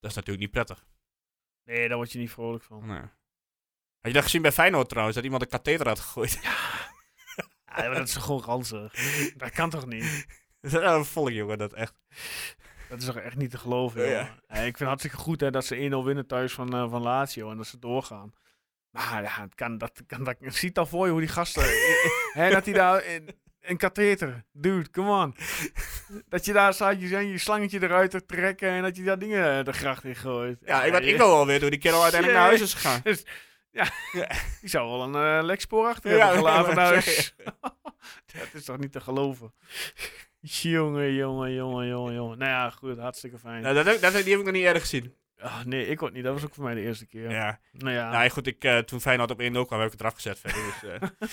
Speaker 4: Dat is natuurlijk niet prettig.
Speaker 1: nee, daar word je niet vrolijk van.
Speaker 4: Oh, Nee. Had je dat gezien bij Feyenoord trouwens, dat iemand een katheder had gegooid?
Speaker 1: Ja, maar dat is toch gewoon ranzig. Dat kan toch niet?
Speaker 4: Ja, volk jongen, dat echt.
Speaker 1: Dat is toch echt niet te geloven, joh.
Speaker 4: Ja.
Speaker 1: Ja, ik vind het hartstikke goed hè, dat ze 1-0 winnen thuis van, eh, van Lazio en dat ze doorgaan. Maar ja, het kan, dat, kan, dat, ziet al voor je hoe die gasten... hè, dat hij daar... in- een katheter. Dude, come on. Dat je daar staat, je, je slangetje eruit te trekken en dat je daar dingen eh, de gracht in gooit.
Speaker 4: Ja, ik, weet,
Speaker 1: je-
Speaker 4: ik wil wel weten hoe die kerel uiteindelijk naar huis is gegaan.
Speaker 1: Die zou wel een eh, lekspoor achter
Speaker 4: Ja,
Speaker 1: hebben
Speaker 4: ja,
Speaker 1: gelaten
Speaker 4: maar-
Speaker 1: thuis. dat is toch niet te geloven. jongen, jongen, jongen, jongen, jongen. Nou ja, goed, hartstikke fijn.
Speaker 4: Nou, dat, heb ik- dat, heb- die heb ik nog niet eerder gezien.
Speaker 1: Ah, nee, ik ook niet. Dat was ook voor mij de eerste keer.
Speaker 4: Ja.
Speaker 1: Nou ja,
Speaker 4: Nou, goed, ik, eh, toen Feyenoord op 1-0 kwam, heb ik het eraf gezet. Verder, dus, eh,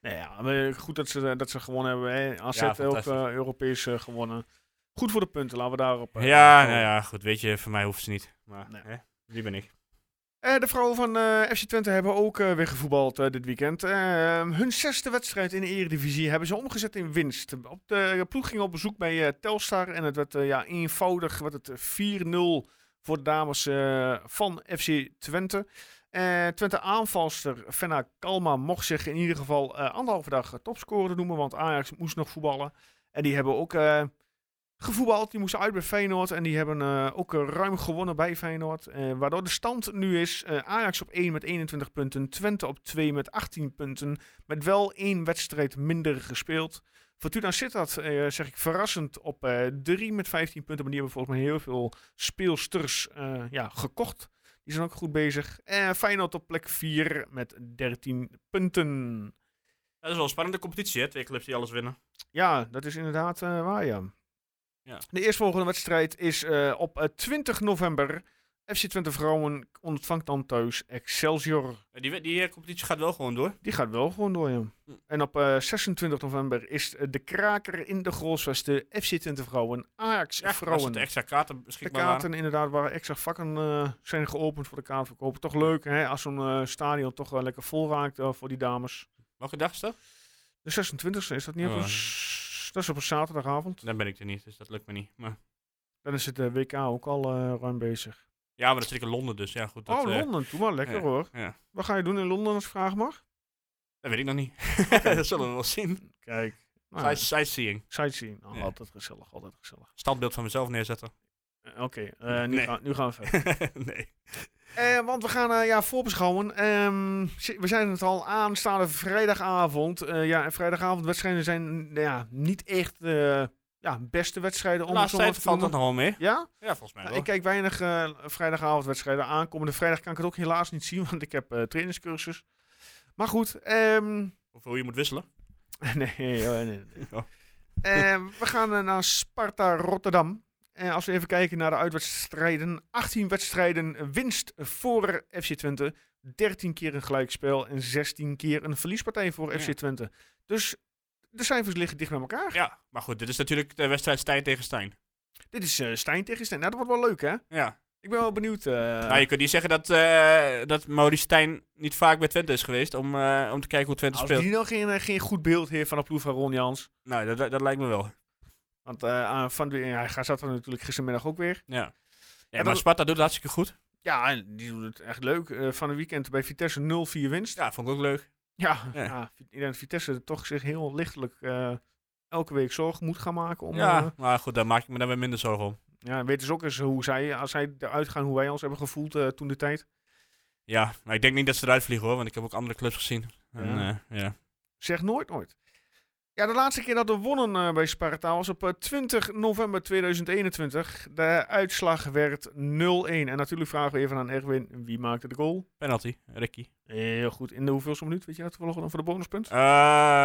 Speaker 1: nou ja maar goed dat ze, dat ze gewonnen hebben. Hè. AZ
Speaker 4: Ja,
Speaker 1: ook
Speaker 4: fantastisch.
Speaker 1: eh, Europees eh, gewonnen. Goed voor de punten, laten we daarop... eh,
Speaker 4: Ja,
Speaker 1: komen.
Speaker 4: nou ja, goed. Weet je, voor mij hoeft ze niet. Maar,
Speaker 1: Nee.
Speaker 4: hè? Die ben ik.
Speaker 1: Eh, de vrouwen van eh, FC Twente hebben ook eh, weer gevoetbald eh, dit weekend. Eh, hun zesde wedstrijd in de Eredivisie hebben ze omgezet in winst. Op de, de ploeg ging op bezoek bij eh, Telstar en het werd eh, ja, eenvoudig werd het eh, 4-0 voor de dames eh, van FC Twente. Eh, Twente aanvalster Fenna Kalma mocht zich in ieder geval eh, anderhalve dag topscorer noemen, want Ajax moest nog voetballen. En die hebben ook eh, gevoetbald. Die moesten uit bij Feyenoord. En die hebben eh, ook eh, ruim gewonnen bij Feyenoord. Eh, waardoor de stand nu is eh, Ajax op 1 met 21 punten. Twente op 2 met 18 punten. Met wel één wedstrijd minder gespeeld. Fortuna Sittard, eh zeg ik verrassend, op eh 3 met 15 punten. Maar die hebben volgens mij heel veel speelsters eh, ja, gekocht. Die zijn ook goed bezig. Eh Feyenoord op plek 4 met 13 punten.
Speaker 4: Dat is wel een spannende competitie, hè? Twee clubs die alles winnen.
Speaker 1: Ja, dat is inderdaad eh, waar, ja.
Speaker 4: Ja.
Speaker 1: De eerstvolgende wedstrijd is eh, op eh, 20 november. FC Twente Vrouwen ontvangt dan thuis Excelsior.
Speaker 4: Eh, Die, we- die eh, competitie gaat wel gewoon door.
Speaker 1: Die gaat wel gewoon door, ja.
Speaker 4: Hm.
Speaker 1: En op eh, 26 november is eh, de kraker in de Grolsvesten FC Twente Vrouwen Ajax
Speaker 4: Ja, als
Speaker 1: Vrouwen.
Speaker 4: het extra kaarten
Speaker 1: de
Speaker 4: beschikbaar
Speaker 1: kaarten inderdaad waar extra vakken eh, zijn geopend voor de kaartverkoop. Toch leuk hè, als zo'n eh, stadion toch wel lekker vol raakt eh, voor die dames.
Speaker 4: waren. Welke dag is dat?
Speaker 1: De 26e is dat niet? op
Speaker 4: Oh,
Speaker 1: een
Speaker 4: ja.
Speaker 1: s- Dat is op een zaterdagavond.
Speaker 4: Dan ben ik er niet, dus dat lukt me niet. Maar...
Speaker 1: Dan is het eh, WK ook al eh, ruim bezig.
Speaker 4: Ja, maar dat zit ik in Londen, dus ja, goed. Dat,
Speaker 1: oh,
Speaker 4: eh,
Speaker 1: Londen. Doe maar lekker
Speaker 4: ja,
Speaker 1: hoor.
Speaker 4: ja.
Speaker 1: Wat ga je doen in Londen als ik vraag mag?
Speaker 4: dat weet ik nog niet. dat zullen we wel zien.
Speaker 1: Kijk. Nou,
Speaker 4: Sight- Sightseeing.
Speaker 1: sightseeing. Nou,
Speaker 4: Ja.
Speaker 1: Altijd gezellig, altijd gezellig.
Speaker 4: Standbeeld van mezelf neerzetten.
Speaker 1: Eh, Oké, eh, nu,
Speaker 4: Nee.
Speaker 1: gaan, nu gaan we verder.
Speaker 4: nee.
Speaker 1: Eh, want we gaan eh, ja, voorbeschouwen. Ehm, zi- we zijn het al aanstaande vrijdagavond. Eh, ja, en vrijdagavondwedstrijden zijn nou ja, niet echt eh ja, beste wedstrijden.
Speaker 4: De
Speaker 1: Om
Speaker 4: laatste
Speaker 1: het zo
Speaker 4: tijd
Speaker 1: maar te
Speaker 4: valt dat
Speaker 1: noemen.
Speaker 4: nog wel mee.
Speaker 1: Ja?
Speaker 4: Ja, volgens mij
Speaker 1: Nou,
Speaker 4: wel.
Speaker 1: ik kijk weinig eh, vrijdagavondwedstrijden aankomende vrijdag kan ik het ook helaas niet zien, want ik heb eh, trainingscursus. Maar goed, ehm,
Speaker 4: Hoeveel je moet wisselen.
Speaker 1: Nee, nee, nee, nee.
Speaker 4: Oh.
Speaker 1: Eh, we gaan eh, naar Sparta Rotterdam. En als we even kijken naar de uitwedstrijden. 18 wedstrijden winst voor FC Twente. 13 keer een gelijkspel en 16 keer een verliespartij voor
Speaker 4: Ja.
Speaker 1: FC Twente. Dus de cijfers liggen dicht bij elkaar.
Speaker 4: Ja, maar goed, dit is natuurlijk de wedstrijd Stijn tegen Stijn.
Speaker 1: Dit is eh, Stijn tegen Stijn. Nou, dat wordt wel leuk, hè?
Speaker 4: Ja.
Speaker 1: Ik ben wel benieuwd. eh,
Speaker 4: Nou, je kunt niet zeggen dat, eh dat Maurice Stijn niet vaak bij Twente is geweest om, eh, om te kijken hoe Twente
Speaker 1: als
Speaker 4: speelt.
Speaker 1: die nou geen, eh, geen goed beeld heeft van de ploeg van Ron Jans.
Speaker 4: Nou, dat- dat, dat lijkt me wel.
Speaker 1: Want eh, aan van, de- hij gaat- zat er natuurlijk gistermiddag ook weer.
Speaker 4: Ja. Ja,
Speaker 1: dan-
Speaker 4: maar Sparta doet het hartstikke goed.
Speaker 1: Ja, en die doet het echt leuk. Eh, van het weekend bij Vitesse 0-4 winst.
Speaker 4: Ja, vond ik ook leuk.
Speaker 1: Ja, ja.
Speaker 4: Ja.
Speaker 1: ik denk dat Vitesse toch zich heel lichtelijk eh, elke week zorgen moet gaan maken. Om, eh, ja.
Speaker 4: Ja, maar goed, daar maak ik me dan weer minder zorgen om.
Speaker 1: ja, weten ze ook eens hoe zij, als zij eruit gaan, hoe wij ons hebben gevoeld eh, toen de tijd.
Speaker 4: Ja, maar ik denk niet dat ze eruit vliegen hoor, want ik heb ook andere clubs gezien. En,
Speaker 1: Ja.
Speaker 4: eh, ja.
Speaker 1: Zeg nooit, nooit. Ja, de laatste keer dat we wonnen eh, bij Sparta was op eh, 20 november 2021. De uitslag werd 0-1. En natuurlijk vragen we even aan Erwin, wie maakte de goal?
Speaker 4: Penalty, Ricky.
Speaker 1: Heel goed. In de hoeveelste minuut, weet je dat toevallig dan voor de bonuspunt?
Speaker 4: Eh,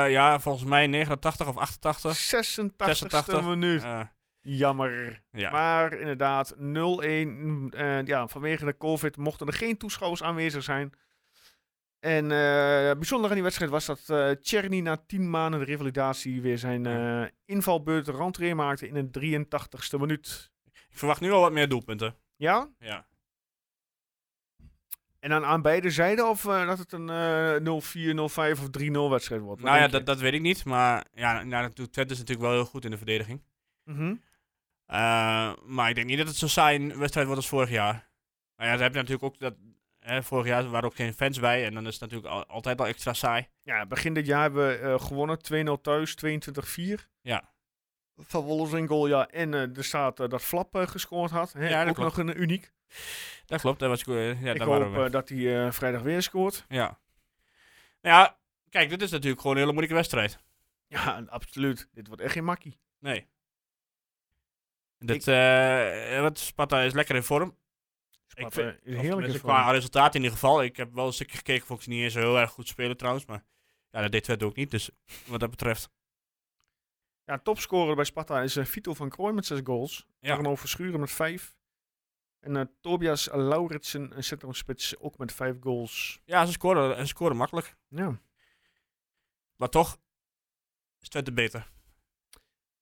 Speaker 4: ja, volgens mij 89 of 88.
Speaker 1: 86 e
Speaker 4: 86e
Speaker 1: minuut.
Speaker 4: Eh,
Speaker 1: Jammer.
Speaker 4: ja.
Speaker 1: Maar inderdaad, 0-1. mm, eh, ja, vanwege de COVID mochten er geen toeschouwers aanwezig zijn. En eh, bijzonder aan die wedstrijd was dat eh Czerny na 10 maanden de revalidatie weer zijn eh invalbeurt de rentree maakte in de 83ste minuut.
Speaker 4: ik verwacht nu al wat meer doelpunten.
Speaker 1: Ja?
Speaker 4: Ja.
Speaker 1: En dan aan beide zijden of eh, dat het een eh 0-4, 0-5 of 3-0 wedstrijd wordt? Wat
Speaker 4: nou ja,
Speaker 1: denk je?
Speaker 4: dat, dat weet ik niet. Maar ja, nou, dat doet Twente is natuurlijk wel heel goed in de verdediging.
Speaker 1: Mhm.
Speaker 4: Eh, maar ik denk niet dat het zo saai een wedstrijd wordt als vorig jaar. Nou ja, dan heb je natuurlijk ook dat. Hè, vorig jaar waren ook geen fans bij. En dan is het natuurlijk al- altijd al extra saai.
Speaker 1: Ja, begin dit jaar hebben we eh, gewonnen. 2-0 thuis, 22-4.
Speaker 4: Ja.
Speaker 1: Van Wolfs een goal, ja. En eh, er staat eh, dat Flap eh, gescoord had. Hè?
Speaker 4: Ja, dat
Speaker 1: Ook
Speaker 4: klopt.
Speaker 1: nog een eh, uniek.
Speaker 4: Dat klopt. Dat was, ik, eh, ja,
Speaker 1: ik
Speaker 4: daar
Speaker 1: hoop
Speaker 4: waren we.
Speaker 1: eh, dat hij eh, vrijdag weer scoort.
Speaker 4: Ja. Nou ja, kijk, dit is natuurlijk gewoon een hele moeilijke wedstrijd.
Speaker 1: Ja, absoluut. Dit wordt echt geen makkie.
Speaker 4: Nee. Dit, eh, wat Sparta is lekker in vorm.
Speaker 1: Sparta
Speaker 4: vind-
Speaker 1: is
Speaker 4: Of
Speaker 1: heerlijk.
Speaker 4: tenminste,
Speaker 1: ervan.
Speaker 4: Qua resultaat in ieder geval. Ik heb wel een stukje gekeken, vond ik ze niet eens zo heel erg goed spelen trouwens. Maar ja, dat deed Twente ook niet. Dus wat dat betreft.
Speaker 1: Ja, topscorer bij Sparta is eh, Vito van Krooi met zes goals.
Speaker 4: Ja.
Speaker 1: Ja. Arno Verschuren met vijf. En eh, Tobias Lauritsen, een centrumspits, ook met vijf goals.
Speaker 4: Ja, ze scoren, ze scoren makkelijk.
Speaker 1: Ja.
Speaker 4: Maar toch is Twente beter.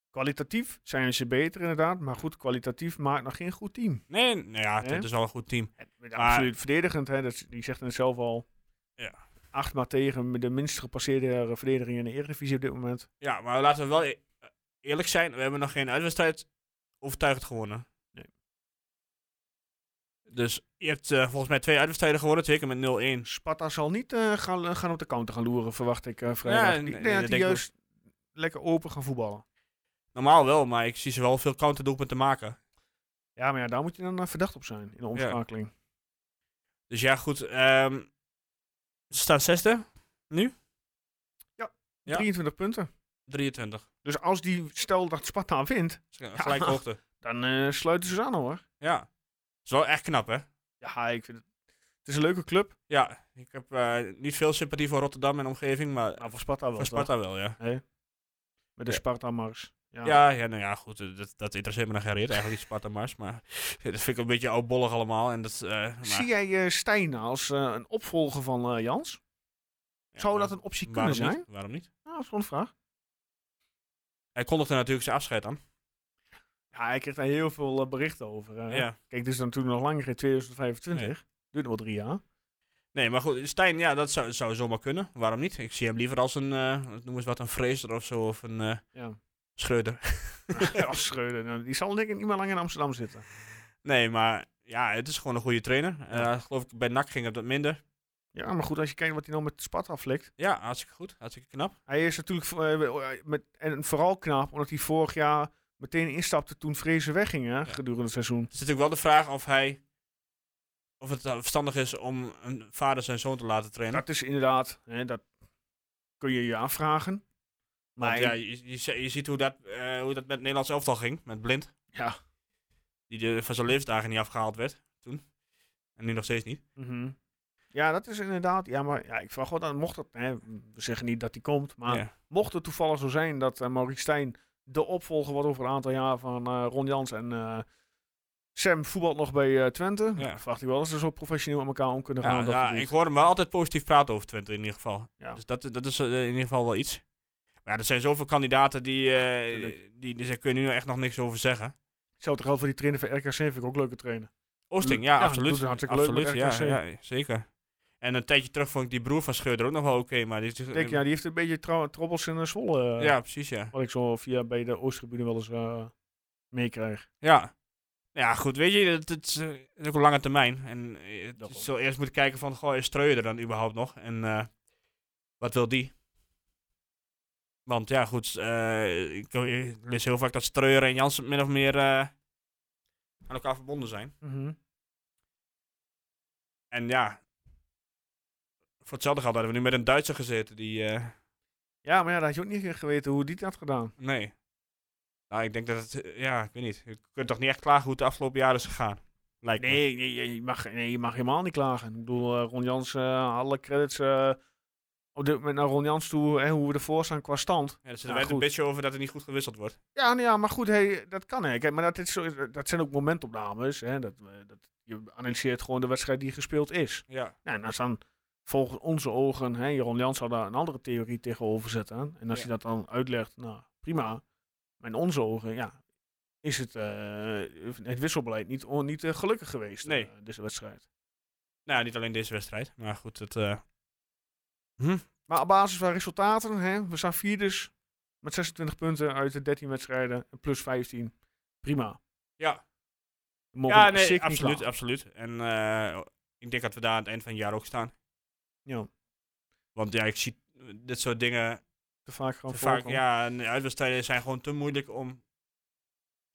Speaker 1: Kwalitatief zijn ze beter inderdaad, maar goed, kwalitatief maakt nog geen goed team.
Speaker 4: Nee, nou ja,
Speaker 1: Hè?
Speaker 4: het is wel een goed team.
Speaker 1: En met
Speaker 4: Maar-
Speaker 1: Absoluut verdedigend, hè, dat, is- die zegt het zelf al.
Speaker 4: Ja.
Speaker 1: Acht maar tegen met de minst gepasseerde eh, verdediging in de Eredivisie op dit moment.
Speaker 4: Ja, maar laten we wel e- eerlijk zijn. We hebben nog geen uitwedstrijd overtuigend gewonnen.
Speaker 1: Nee.
Speaker 4: Dus je hebt eh, volgens mij twee uitwedstrijden gewonnen. Twee keer met 0-1.
Speaker 1: Sparta zal niet eh, gaan, gaan op de counter gaan loeren, verwacht ik eh vrijdag.
Speaker 4: Ja,
Speaker 1: ik
Speaker 4: nee,
Speaker 1: denk
Speaker 4: nee,
Speaker 1: dat die
Speaker 4: dat denk ik
Speaker 1: juist lekker open gaan voetballen.
Speaker 4: Normaal wel, maar ik zie ze wel veel counterdoelpunten maken.
Speaker 1: Ja, maar ja, daar moet je dan eh, verdacht op zijn in de omschakeling.
Speaker 4: Dus ja, goed. ehm, ze staan zesde. Ja.
Speaker 1: 23 punten.
Speaker 4: 23.
Speaker 1: Dus als die, stel dat Sparta wint,
Speaker 4: Ze- Gelijke hoogte.
Speaker 1: dan eh, sluiten ze ze aan hoor.
Speaker 4: Ja. is wel echt knap, hè?
Speaker 1: Ja, ik vind het. Het is een leuke club.
Speaker 4: Ja. Ik heb eh, niet veel sympathie voor Rotterdam en omgeving, maar
Speaker 1: Nou, voor Sparta wel.
Speaker 4: voor Sparta wel, ja.
Speaker 1: toch? Met de
Speaker 4: Ja.
Speaker 1: Sparta-mars. Ja.
Speaker 4: Ja, ja, nou ja, goed. eh, Dat, dat interesseert me nog geen reet, eigenlijk, die Sparta Mars. Maar dat vind ik een beetje oudbollig allemaal. En dat, eh, maar,
Speaker 1: Zie jij eh, Stijn als eh, een opvolger van eh, Jans?
Speaker 4: ja,
Speaker 1: Zou
Speaker 4: waarom-
Speaker 1: dat een optie
Speaker 4: waarom
Speaker 1: kunnen zijn?
Speaker 4: Niet? Waarom niet?
Speaker 1: Nou, dat is gewoon een vraag.
Speaker 4: Hij kondigde natuurlijk zijn afscheid aan.
Speaker 1: Ja, hij kreeg daar heel veel eh, berichten over. eh.
Speaker 4: Ja.
Speaker 1: Kijk, dit is dan natuurlijk nog langer in 2025. Duurt nog wel drie jaar.
Speaker 4: Nee, maar goed, Stijn, ja, dat zou, zou zomaar kunnen. Waarom niet? Ik zie hem liever als een, eh noem eens wat, een Fraser of zo, of een eh
Speaker 1: Ja.
Speaker 4: Schreuder.
Speaker 1: Als Schreuder. nou, die zal denk ik niet meer lang in Amsterdam zitten.
Speaker 4: Nee, maar ja, het is gewoon een goede trainer. Eh, geloof ik, bij NAC ging het wat minder.
Speaker 1: Ja, maar goed, als je kijkt wat hij nou met Sparta flikt.
Speaker 4: Ja, hartstikke goed, hartstikke knap.
Speaker 1: Hij is natuurlijk eh, met, en vooral knap, omdat hij vorig jaar meteen instapte toen Vrezen wegging hè, gedurende het seizoen.
Speaker 4: Het is natuurlijk wel de vraag of hij, of het eh, verstandig is om een vader zijn zoon te laten trainen.
Speaker 1: Dat is inderdaad, hè, dat kun je je afvragen. Maar
Speaker 4: Want ja, je, je, zie- je ziet hoe dat, eh, hoe dat met het Nederlands elftal ging, met Blind.
Speaker 1: Ja.
Speaker 4: Die de, van zijn levensdagen niet afgehaald werd toen. En nu nog steeds niet.
Speaker 1: mhm. ja, dat is inderdaad. Ja, maar ja, ik vraag wel aan, mocht dat, hè, we zeggen niet dat hij komt, maar
Speaker 4: Ja.
Speaker 1: mocht het toevallig zo zijn dat eh Maurice Stijn de opvolger wordt over een aantal jaar van eh, Ron Jans en eh, Sam voetbalt nog bij eh, Twente,
Speaker 4: Ja.
Speaker 1: vraagt hij wel eens ze zo professioneel met elkaar om kunnen gaan.
Speaker 4: Ja,
Speaker 1: op dat
Speaker 4: ja,
Speaker 1: gebied.
Speaker 4: ik hoor hem wel altijd positief praten over Twente in ieder geval.
Speaker 1: Ja.
Speaker 4: Dus dat, dat is eh, in ieder geval wel iets. Maar ja, er zijn zoveel kandidaten die, eh,
Speaker 1: Tuurlijk.
Speaker 4: die, die, daar kun je nu echt nog niks over zeggen.
Speaker 1: Hetzelfde geldt voor die trainer van RKC, vind ik ook leuke trainer.
Speaker 4: Oosting, ja,
Speaker 1: Mm, Ja, doet
Speaker 4: absoluut.
Speaker 1: het hartstikke leuk
Speaker 4: absoluut,
Speaker 1: met
Speaker 4: ja, ja, zeker. En een tijdje terug vond ik die broer van Scheurder ook nog wel oké. maar die,
Speaker 1: Ik denk, ja, die heeft een beetje trou- trobbels in eh, Zwolle. eh,
Speaker 4: ja, precies, ja.
Speaker 1: Wat ik zo via bij de Oostgebieden wel eens eh, meekrijg.
Speaker 4: Ja. Ja, goed, weet je, het, het is eh, het is ook een lange termijn. En eh, het-
Speaker 1: Daarom.
Speaker 4: je zal eerst moeten kijken van, goh, is Streuer er dan überhaupt nog? En eh, wat wil die? Want ja, goed, eh, ik, ik lees heel vaak dat Streuer en Jansen min of meer eh, aan elkaar verbonden zijn. En ja, voor hetzelfde geld hadden we nu met een Duitser gezeten die, eh,
Speaker 1: Ja, maar ja, dan had je ook niet geweten hoe die dat had gedaan.
Speaker 4: nee. Nou, ik denk dat het, eh, ja, ik weet niet. Je kunt toch niet echt klagen hoe het de afgelopen jaren is gegaan? Lijkt me.
Speaker 1: Nee, nee, je- je, mag, nee je mag helemaal niet klagen. Ik bedoel, eh, Ron Jans, eh, alle credits eh, op dit moment naar Ron Jans toe, hè, hoe we ervoor staan qua stand.
Speaker 4: Ja, er zit
Speaker 1: Ja,
Speaker 4: een
Speaker 1: goed.
Speaker 4: beetje over dat er niet goed gewisseld wordt.
Speaker 1: Ja, nou ja maar goed, hey, dat kan hè. Kijk, maar dat, is zo, dat zijn ook momentopnames. Hè, dat, eh, dat, je analyseert gewoon de wedstrijd die gespeeld is.
Speaker 4: Ja.
Speaker 1: Ja, en als dan volgens onze ogen, hè, Jeroen Jans zou daar een andere theorie tegenover zetten. En als
Speaker 4: Ja.
Speaker 1: hij dat dan uitlegt, nou prima. Maar in onze ogen, ja, is het, eh, het wisselbeleid niet, on- niet eh, gelukkig geweest,
Speaker 4: Nee.
Speaker 1: eh, deze wedstrijd.
Speaker 4: Nou, ja, niet alleen deze wedstrijd. Maar goed, het, eh,
Speaker 1: Maar op basis van resultaten, hè, we staan vierders met 26 punten uit de 13 wedstrijden, en plus 15. Prima.
Speaker 4: ja.
Speaker 1: We mogen
Speaker 4: ja
Speaker 1: ons zeker
Speaker 4: nee,
Speaker 1: niet
Speaker 4: absoluut,
Speaker 1: klagen.
Speaker 4: absoluut. En eh, ik denk dat we daar aan het eind van het jaar ook staan.
Speaker 1: Ja,
Speaker 4: Want ja, ik zie eh, dit soort dingen
Speaker 1: te vaak gewoon
Speaker 4: te vaak.
Speaker 1: voorkomen.
Speaker 4: Ja, en de uitwedstrijden zijn gewoon te moeilijk om,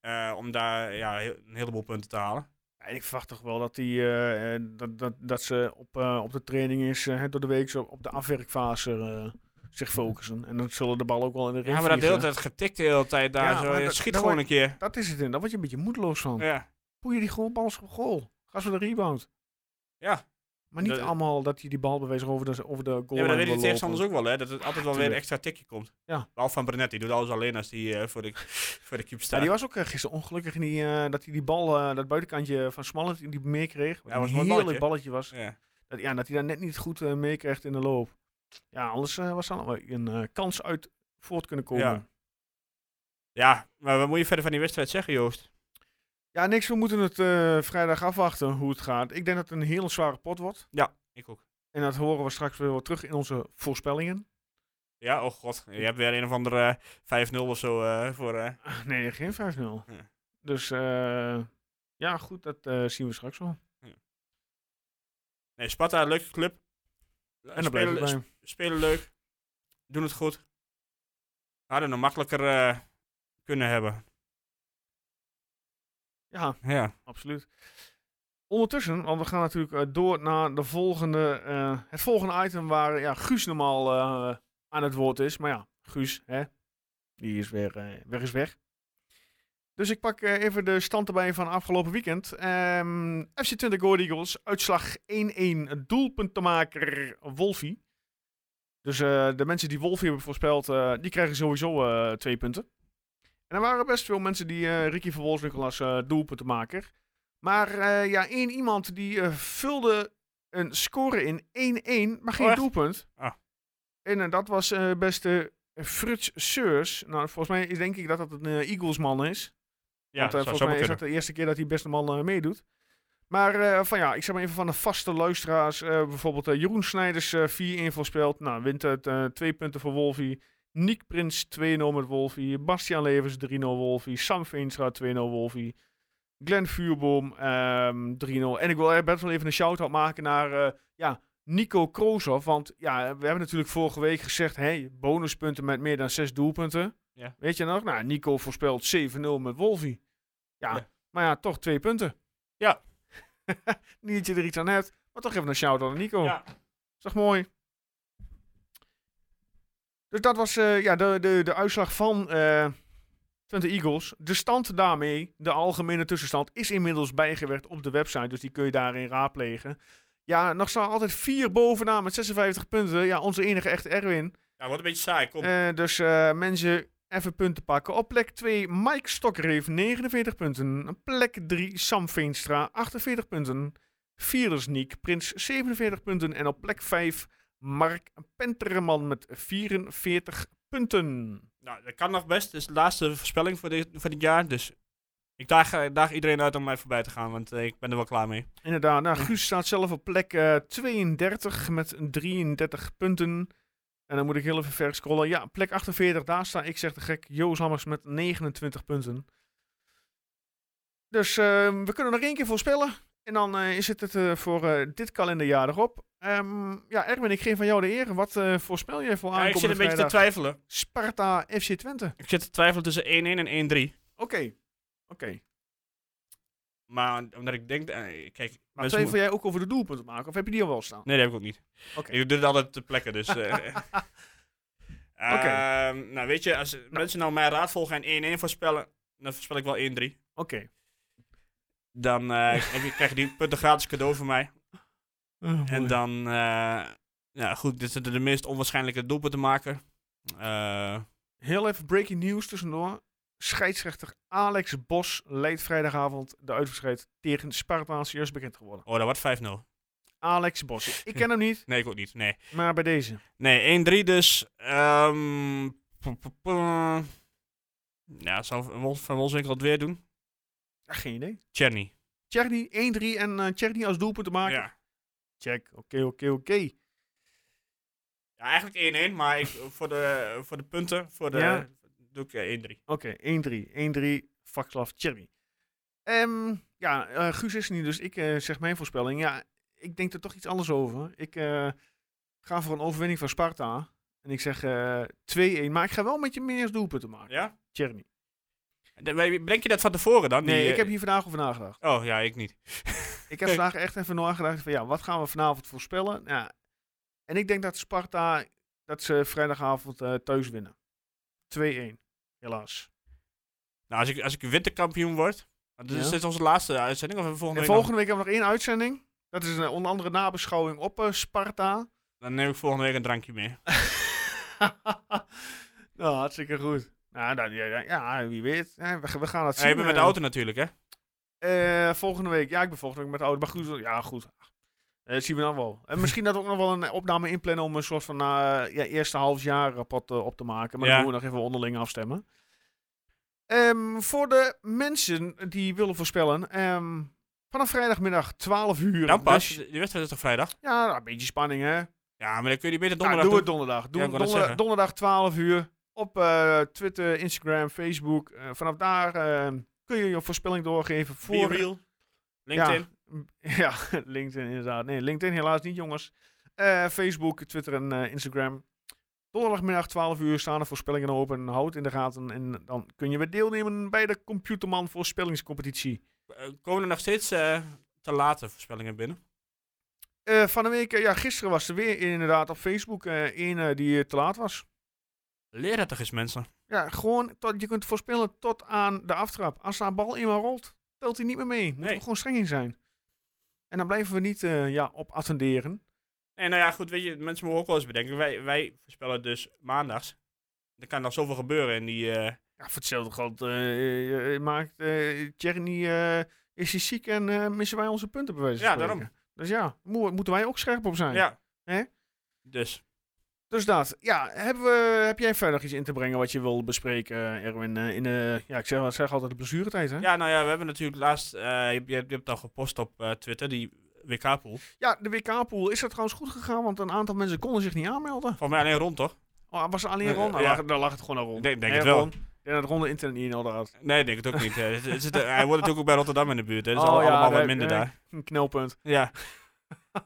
Speaker 4: eh, om daar ja, heel- een heleboel punten te halen.
Speaker 1: Ja, Ik verwacht toch wel dat, die, eh, eh, dat, dat, dat ze op, eh, op de training is, eh, hè, door de week zo op de afwerkfase eh, zich focussen. En dan zullen de ballen ook wel in de ring
Speaker 4: Ja, maar dat de hele
Speaker 1: vliegen.
Speaker 4: tijd getikt de hele tijd daar.
Speaker 1: Ja,
Speaker 4: zo,
Speaker 1: maar
Speaker 4: je
Speaker 1: dat-
Speaker 4: schiet
Speaker 1: daar
Speaker 4: gewoon
Speaker 1: word-
Speaker 4: een keer.
Speaker 1: Dat is het in. Daar word je een beetje moedeloos van.
Speaker 4: Ja.
Speaker 1: Poei je die gewoon bal op goal. Ga ze de rebound.
Speaker 4: Ja.
Speaker 1: Maar niet
Speaker 4: Dat-
Speaker 1: allemaal dat je die bal bewezen over de, over de goal.
Speaker 4: ja, maar dat weten de
Speaker 1: wil
Speaker 4: tegenstanders
Speaker 1: lopen.
Speaker 4: ook wel, hè? Dat het altijd wel weer een
Speaker 1: tuurlijk.
Speaker 4: extra tikje komt.
Speaker 1: Ja.
Speaker 4: Behalve van Brenet, die doet alles alleen als die eh, voor, de, voor de cube
Speaker 1: Ja,
Speaker 4: staat.
Speaker 1: die was ook eh, gisteren ongelukkig in die, eh, dat hij die bal, eh, dat buitenkantje van Smallet, die meer kreeg. Wat
Speaker 4: Ja, was
Speaker 1: een
Speaker 4: een mooi
Speaker 1: heerlijk balletje,
Speaker 4: balletje.
Speaker 1: was.
Speaker 4: ja.
Speaker 1: Dat, ja, dat hij daar net niet goed eh, mee kreeg in de loop. Ja, anders eh, was er nog wel een eh, kans uit voort kunnen komen.
Speaker 4: Ja. Ja, maar wat moet je verder van die wedstrijd zeggen, Joost?
Speaker 1: Ja, niks. We moeten het eh, vrijdag afwachten hoe het gaat. Ik denk dat het een hele zware pot wordt.
Speaker 4: Ik ook.
Speaker 1: En dat horen we straks weer wel terug in onze voorspellingen.
Speaker 4: Ja, oh god. Je hebt weer een of andere eh, 5-0 of zo eh, voor... eh,
Speaker 1: Ah, Nee, geen 5-0.
Speaker 4: Ja.
Speaker 1: Dus eh, ja, goed, dat eh, zien we straks wel.
Speaker 4: Nee, Sparta, leuke club.
Speaker 1: En dan blijven we bij.
Speaker 4: spelen leuk. Doen het goed. Hadden nog makkelijker eh, kunnen hebben.
Speaker 1: Ja,
Speaker 4: Ja.
Speaker 1: absoluut. Ondertussen, want we gaan natuurlijk eh, door naar de volgende, eh, het volgende item waar ja, Guus normaal eh, aan het woord is. Maar ja, Guus, hè, die is weer eh, weg is weg. Dus ik pak eh, even de stand erbij van afgelopen weekend. Ehm, FC 20 Go Ahead Eagles, uitslag 1-1, doelpuntenmaker Wolfie. Dus eh, de mensen die Wolfie hebben voorspeld, eh, die krijgen sowieso eh, twee punten. En er waren best veel mensen die eh, Ricky van Wolfswinkel als eh, doelpuntenmaker. Maar eh, ja, één iemand die eh, vulde een score in 1-1, maar geen
Speaker 4: Oh, echt?
Speaker 1: doelpunt.
Speaker 4: Ah.
Speaker 1: En eh, dat was eh, beste Fruits Seurs. Nou, volgens mij is- denk ik dat dat een eh, Eagles-man is.
Speaker 4: Ja,
Speaker 1: Want eh,
Speaker 4: zou
Speaker 1: volgens
Speaker 4: zomaar
Speaker 1: mij is dat
Speaker 4: kunnen.
Speaker 1: de eerste keer dat die beste man eh, meedoet. Maar eh, van ja, ik zeg maar even van de vaste luisteraars. eh, bijvoorbeeld eh, Jeroen Snijders eh 4-1 voorspeld. Nou, wint het eh, twee punten voor Wolfie. Nick Prins 2-0 met Wolfie. Bastiaan Levens 3-0 Wolfie. Sam Veenstra 2-0 Wolfie. Glenn Vuurboom ehm 3-0. En ik wil eh, best wel even een shout-out maken naar eh, ja, Nico Krooshoff. Want ja, we hebben natuurlijk vorige week gezegd... Hey, bonuspunten met meer dan zes doelpunten.
Speaker 4: Ja.
Speaker 1: Weet je nog? Nou, Nico voorspelt 7-0 met Wolfie. Ja,
Speaker 4: Ja.
Speaker 1: maar ja, toch twee punten.
Speaker 4: Ja.
Speaker 1: Niet dat je er iets aan hebt, maar toch even een shout-out aan Nico.
Speaker 4: Ja.
Speaker 1: Is toch mooi? Dus dat was eh, ja, de, de, de uitslag van eh Twente Eagles. De stand daarmee, de algemene tussenstand, is inmiddels bijgewerkt op de website. Dus die kun je daarin raadplegen. Ja, nog staan altijd vier bovenaan met 56 punten. Ja, onze enige echte Erwin.
Speaker 4: Ja, wordt een beetje saai. Kom.
Speaker 1: Eh, dus eh, mensen, even punten pakken. Op plek 2, Mike Stokker heeft 49 punten. Op Plek 3, Sam Veenstra, 48 punten. Vierde is Niek Prins, 47 punten. En op plek 5, Mark Penterman met 44 punten.
Speaker 4: Nou, dat kan nog best. Het is de laatste voorspelling voor dit, voor dit jaar. Dus ik daag, eh, daag iedereen uit om mij voorbij te gaan. Want eh, ik ben er wel klaar mee.
Speaker 1: Inderdaad, nou, Guus staat zelf op plek eh, 32 met 33 punten. En dan moet ik heel even ver scrollen. Ja, plek 48, daar sta ik zeg de gek Joost Hammers met 29 punten. Dus eh, we kunnen nog één keer voorspellen. En dan eh, is het het eh, voor eh, dit kalenderjaar erop. Ehm, ja, Erwin, ik geef van jou de eer. Wat eh, voorspel jij voor
Speaker 4: Ja, ik
Speaker 1: aankomende
Speaker 4: zit een beetje te
Speaker 1: vrijdag?
Speaker 4: twijfelen.
Speaker 1: Sparta FC Twente. Oké,
Speaker 4: Ik zit te twijfelen tussen 1-1 en 1-3.
Speaker 1: oké.
Speaker 4: Maar omdat ik denk... eh,
Speaker 1: Maar
Speaker 4: kijk, mensen
Speaker 1: twijfel
Speaker 4: moeten-
Speaker 1: jij ook over de doelpunten maken? Of heb je die al wel staan?
Speaker 4: Nee, dat heb ik ook niet.
Speaker 1: Oké.
Speaker 4: Ik doe het altijd te plekken, dus... eh.
Speaker 1: Oké.
Speaker 4: Ehm, nou, weet je, als mensen nou mijn raad volgen en 1-1 voorspellen... Dan voorspel ik wel 1-3.
Speaker 1: Oké.
Speaker 4: Dan eh, heb je, krijg je die punten gratis cadeau van mij. En dan, eh, ja goed, dit is de, de meest onwaarschijnlijke doelpunt te maken. Eh,
Speaker 1: Heel even breaking news tussendoor. Scheidsrechter Alex Bos leidt vrijdagavond de uitwedstrijd tegen Sparta als eerst bekend geworden.
Speaker 4: oh, dat wordt 5-0.
Speaker 1: Alex Bos. Ik ken hem niet,
Speaker 4: Nee, ik ook niet. Nee,
Speaker 1: maar bij deze.
Speaker 4: nee 1-3 dus. Ehm, p- p- p- ja, zal Wol- Van Wolfswinkel het weer doen?
Speaker 1: Ja, geen idee.
Speaker 4: Cherny.
Speaker 1: Cherny 1-3 en eh Tjerni als doelpunt te maken.
Speaker 4: Ja.
Speaker 1: Check. Oké, oké, oké.
Speaker 4: ja, eigenlijk 1-1, maar ik, eh, voor, de, voor de punten voor de,
Speaker 1: Ja.
Speaker 4: doe ik eh, 1-3.
Speaker 1: Oké, 1-3. 1-3, Vakslav Cherry. Ehm, ja, eh, Guus is er niet, dus ik eh, zeg mijn voorspelling. Ja, ik denk er toch iets anders over. Ik eh, ga voor een overwinning van Sparta. En ik zeg eh, 2-1, maar ik ga wel een beetje meer als doelpunt te maken.
Speaker 4: Ja?
Speaker 1: Tjerni.
Speaker 4: De- maar Breng je dat van tevoren dan? die,
Speaker 1: Nee, ik
Speaker 4: eh,
Speaker 1: heb hier vandaag over nagedacht.
Speaker 4: Oh, ja, ik niet.
Speaker 1: Ik heb vandaag echt even nagedacht van ja, wat gaan we vanavond voorspellen? Ja. En ik denk dat Sparta, dat ze vrijdagavond eh, thuis winnen. 2-1, helaas.
Speaker 4: Nou, als ik, als ik winterkampioen word... want
Speaker 1: Ja.
Speaker 4: Is dit onze laatste uitzending? Of hebben we volgende
Speaker 1: En
Speaker 4: week nog-
Speaker 1: volgende week hebben we nog één uitzending. Dat is een, eh, onder andere nabeschouwing op eh, Sparta.
Speaker 4: Dan neem ik volgende week een drankje mee.
Speaker 1: nou, hartstikke goed. Nou, dan, ja, ja, ja, wie weet. Ja, we, we gaan het zien.
Speaker 4: Hey, je bent met de
Speaker 1: eh.
Speaker 4: auto natuurlijk, hè?
Speaker 1: Eh, volgende week. Ja, ik ben volgende week met de auto. Maar goed, ja, goed. Eh, dat zien we dan wel. En misschien dat we ook nog wel een opname inplannen om een soort van eh, ja, eerste halfjaar rapport eh, op te maken. Maar
Speaker 4: Ja.
Speaker 1: dan moeten we nog even onderling afstemmen. Ehm, voor de mensen die willen voorspellen, ehm, vanaf vrijdagmiddag 12 uur.
Speaker 4: Dan pas.
Speaker 1: dus-
Speaker 4: Die wedstrijd is toch vrijdag?
Speaker 1: ja, nou, een beetje spanning hè.
Speaker 4: Ja, maar dan kun je die beter
Speaker 1: Nou,
Speaker 4: donderdag
Speaker 1: doe het
Speaker 4: doen.
Speaker 1: donderdag. Doe
Speaker 4: Ja, ik
Speaker 1: het
Speaker 4: wou net
Speaker 1: donder-
Speaker 4: zeggen.
Speaker 1: donderdag 12 uur. Op eh, Twitter, Instagram, Facebook. Eh, vanaf daar eh, kun je je voorspelling doorgeven voor...
Speaker 4: Be real. LinkedIn.
Speaker 1: Ja, LinkedIn inderdaad. Nee, LinkedIn helaas niet, jongens. Eh, Facebook, Twitter en eh, Instagram. Donderdagmiddag 12 uur staan de voorspellingen open. Houd in de gaten en dan kun je weer deelnemen bij de Computerman voorspellingscompetitie.
Speaker 4: Eh, Komen er nog steeds eh, te late voorspellingen binnen?
Speaker 1: Eh, van de week, eh, ja, gisteren was er weer inderdaad op Facebook eh een eh, die eh, te laat was.
Speaker 4: Leer dat toch eens, mensen.
Speaker 1: Ja, gewoon, tot, je kunt voorspellen tot aan de aftrap. Als daar bal eenmaal rolt, telt hij niet meer mee. Moeten
Speaker 4: Nee.
Speaker 1: we gewoon streng in zijn. En dan blijven we niet eh, ja, op attenderen.
Speaker 4: Nee, nou ja, goed, weet je, mensen mogen ook wel eens bedenken. Wij, wij voorspellen dus maandags. Er kan nog zoveel gebeuren in die... eh,
Speaker 1: Ja, voor hetzelfde geld eh, eh, eh, maakt eh Thierry niet, eh, is hij ziek en eh, missen wij onze punten bij wijze van
Speaker 4: Ja,
Speaker 1: spreken.
Speaker 4: daarom.
Speaker 1: Dus ja, moe- moeten wij ook scherp op zijn.
Speaker 4: ja.
Speaker 1: Hè?
Speaker 4: Dus,
Speaker 1: Dus dat. Ja, hebben we, heb jij verder iets in te brengen wat je wil bespreken, eh, Erwin? eh, in de, ja, ik zeg, ik zeg altijd de blessuretijd, hè?
Speaker 4: ja, nou ja, we hebben natuurlijk laatst... eh, je, hebt- je hebt je hebt al gepost op eh, Twitter, die WK-pool.
Speaker 1: Ja, de WK-pool. Is dat trouwens goed gegaan? Want een aantal mensen konden zich niet aanmelden.
Speaker 4: Volgens mij alleen rond, toch?
Speaker 1: Oh, was er alleen
Speaker 4: Eh,
Speaker 1: Ron? Dan
Speaker 4: ja.
Speaker 1: lag, daar lag het gewoon aan Ron.
Speaker 4: Ik denk- denk
Speaker 1: Nee,
Speaker 4: het wel.
Speaker 1: Ron. Ik denk dat Ron de internet niet in orde had.
Speaker 4: Nee, ik denk het ook niet. eh. Het- het zit- hij wordt natuurlijk ook bij Rotterdam in de buurt, hè. Dus
Speaker 1: Oh,
Speaker 4: al-
Speaker 1: ja,
Speaker 4: allemaal wat
Speaker 1: daar-
Speaker 4: minder
Speaker 1: nee.
Speaker 4: daar.
Speaker 1: Een knelpunt.
Speaker 4: Ja.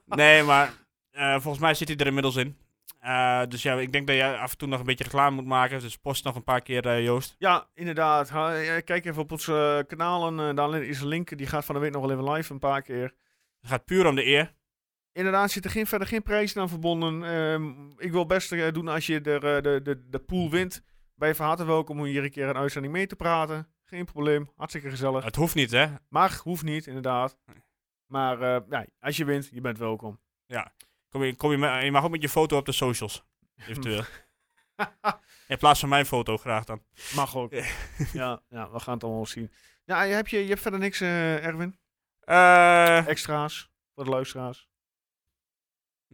Speaker 4: Nee, maar eh, volgens mij zit hij er inmiddels in. Eh, dus ja, ik denk dat jij af en toe nog een beetje reclame moet maken. Dus post nog een paar keer, eh, Joost.
Speaker 1: Ja, inderdaad. Ha- eh, Kijk even op onze eh, kanalen. eh, daar is een link. Die gaat van de week nog wel even live een paar keer.
Speaker 4: Het gaat puur om de eer.
Speaker 1: Inderdaad, zit er geen, verder geen prijzen aan verbonden. Ehm, ik wil best eh, doen als je de, de, de, de pool wint. Ben je van harte welkom om hier een keer een uitzending mee te praten. Geen probleem. Hartstikke gezellig.
Speaker 4: Het hoeft niet, hè?
Speaker 1: Mag, hoeft niet, inderdaad. Maar eh, ja, als je wint, je bent welkom.
Speaker 4: Kom je, kom je, met- je mag ook met je foto op de socials. Eventueel. In plaats van mijn foto graag dan.
Speaker 1: Mag ook.
Speaker 4: Ja.
Speaker 1: ja, ja, we gaan het allemaal zien. Ja, heb je, je hebt verder niks, eh, Erwin?
Speaker 4: Eh,
Speaker 1: Extra's voor de luisteraars?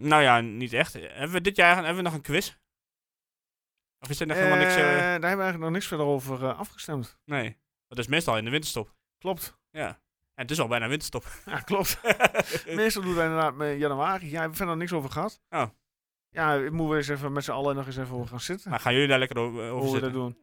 Speaker 4: nou ja, niet echt. Hebben we dit jaar hebben we nog een quiz? Of is er nog helemaal niks?
Speaker 1: Eh,
Speaker 4: eh,
Speaker 1: Daar hebben we eigenlijk nog niks verder over eh, afgestemd.
Speaker 4: nee. Dat is meestal in de winterstop.
Speaker 1: Klopt.
Speaker 4: Ja. En het is al bijna winterstop.
Speaker 1: Ja, klopt. Meestal doen wij inderdaad met januari. Ja, we hebben verder niks over gehad.
Speaker 4: Oh.
Speaker 1: Ja, daar moeten we eens even met z'n allen nog eens even over gaan zitten.
Speaker 4: maar Nou, gaan jullie daar lekker over, over
Speaker 1: hoe we dat
Speaker 4: zitten?
Speaker 1: doen.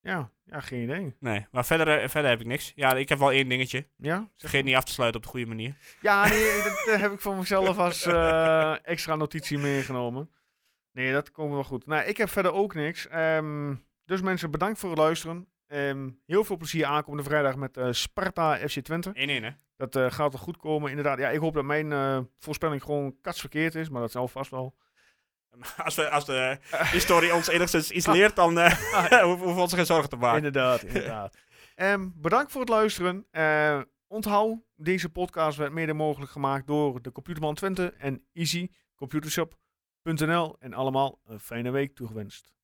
Speaker 1: Ja, ja, geen idee.
Speaker 4: Nee, maar verder, eh, verder heb ik niks. Ja, ik heb wel één dingetje.
Speaker 1: Ja? Zeg-
Speaker 4: Vergeet niet af te sluiten op de goede manier.
Speaker 1: Ja, nee, dat eh, heb ik voor mezelf als eh, extra notitie meegenomen. Nee, dat komt wel goed. Nou, ik heb verder ook niks. Ehm, dus mensen, bedankt voor het luisteren. Ehm, heel veel plezier aankomende vrijdag met eh, Sparta FC Twente.
Speaker 4: 1-1, hè?
Speaker 1: Dat eh, gaat wel goed komen, inderdaad. Ja, ik hoop dat mijn eh, voorspelling gewoon katsverkeerd is, maar dat zal vast wel.
Speaker 4: Als, we, als de historie ons enigszins iets leert, dan eh
Speaker 1: Ah,
Speaker 4: hoeven we ons geen zorgen te maken.
Speaker 1: Inderdaad, inderdaad. Ehm, bedankt voor het luisteren. Eh, onthoud, deze podcast werd mede mogelijk gemaakt door de Computerman Twente en Easy, computershop.nl. En allemaal een fijne week toegewenst.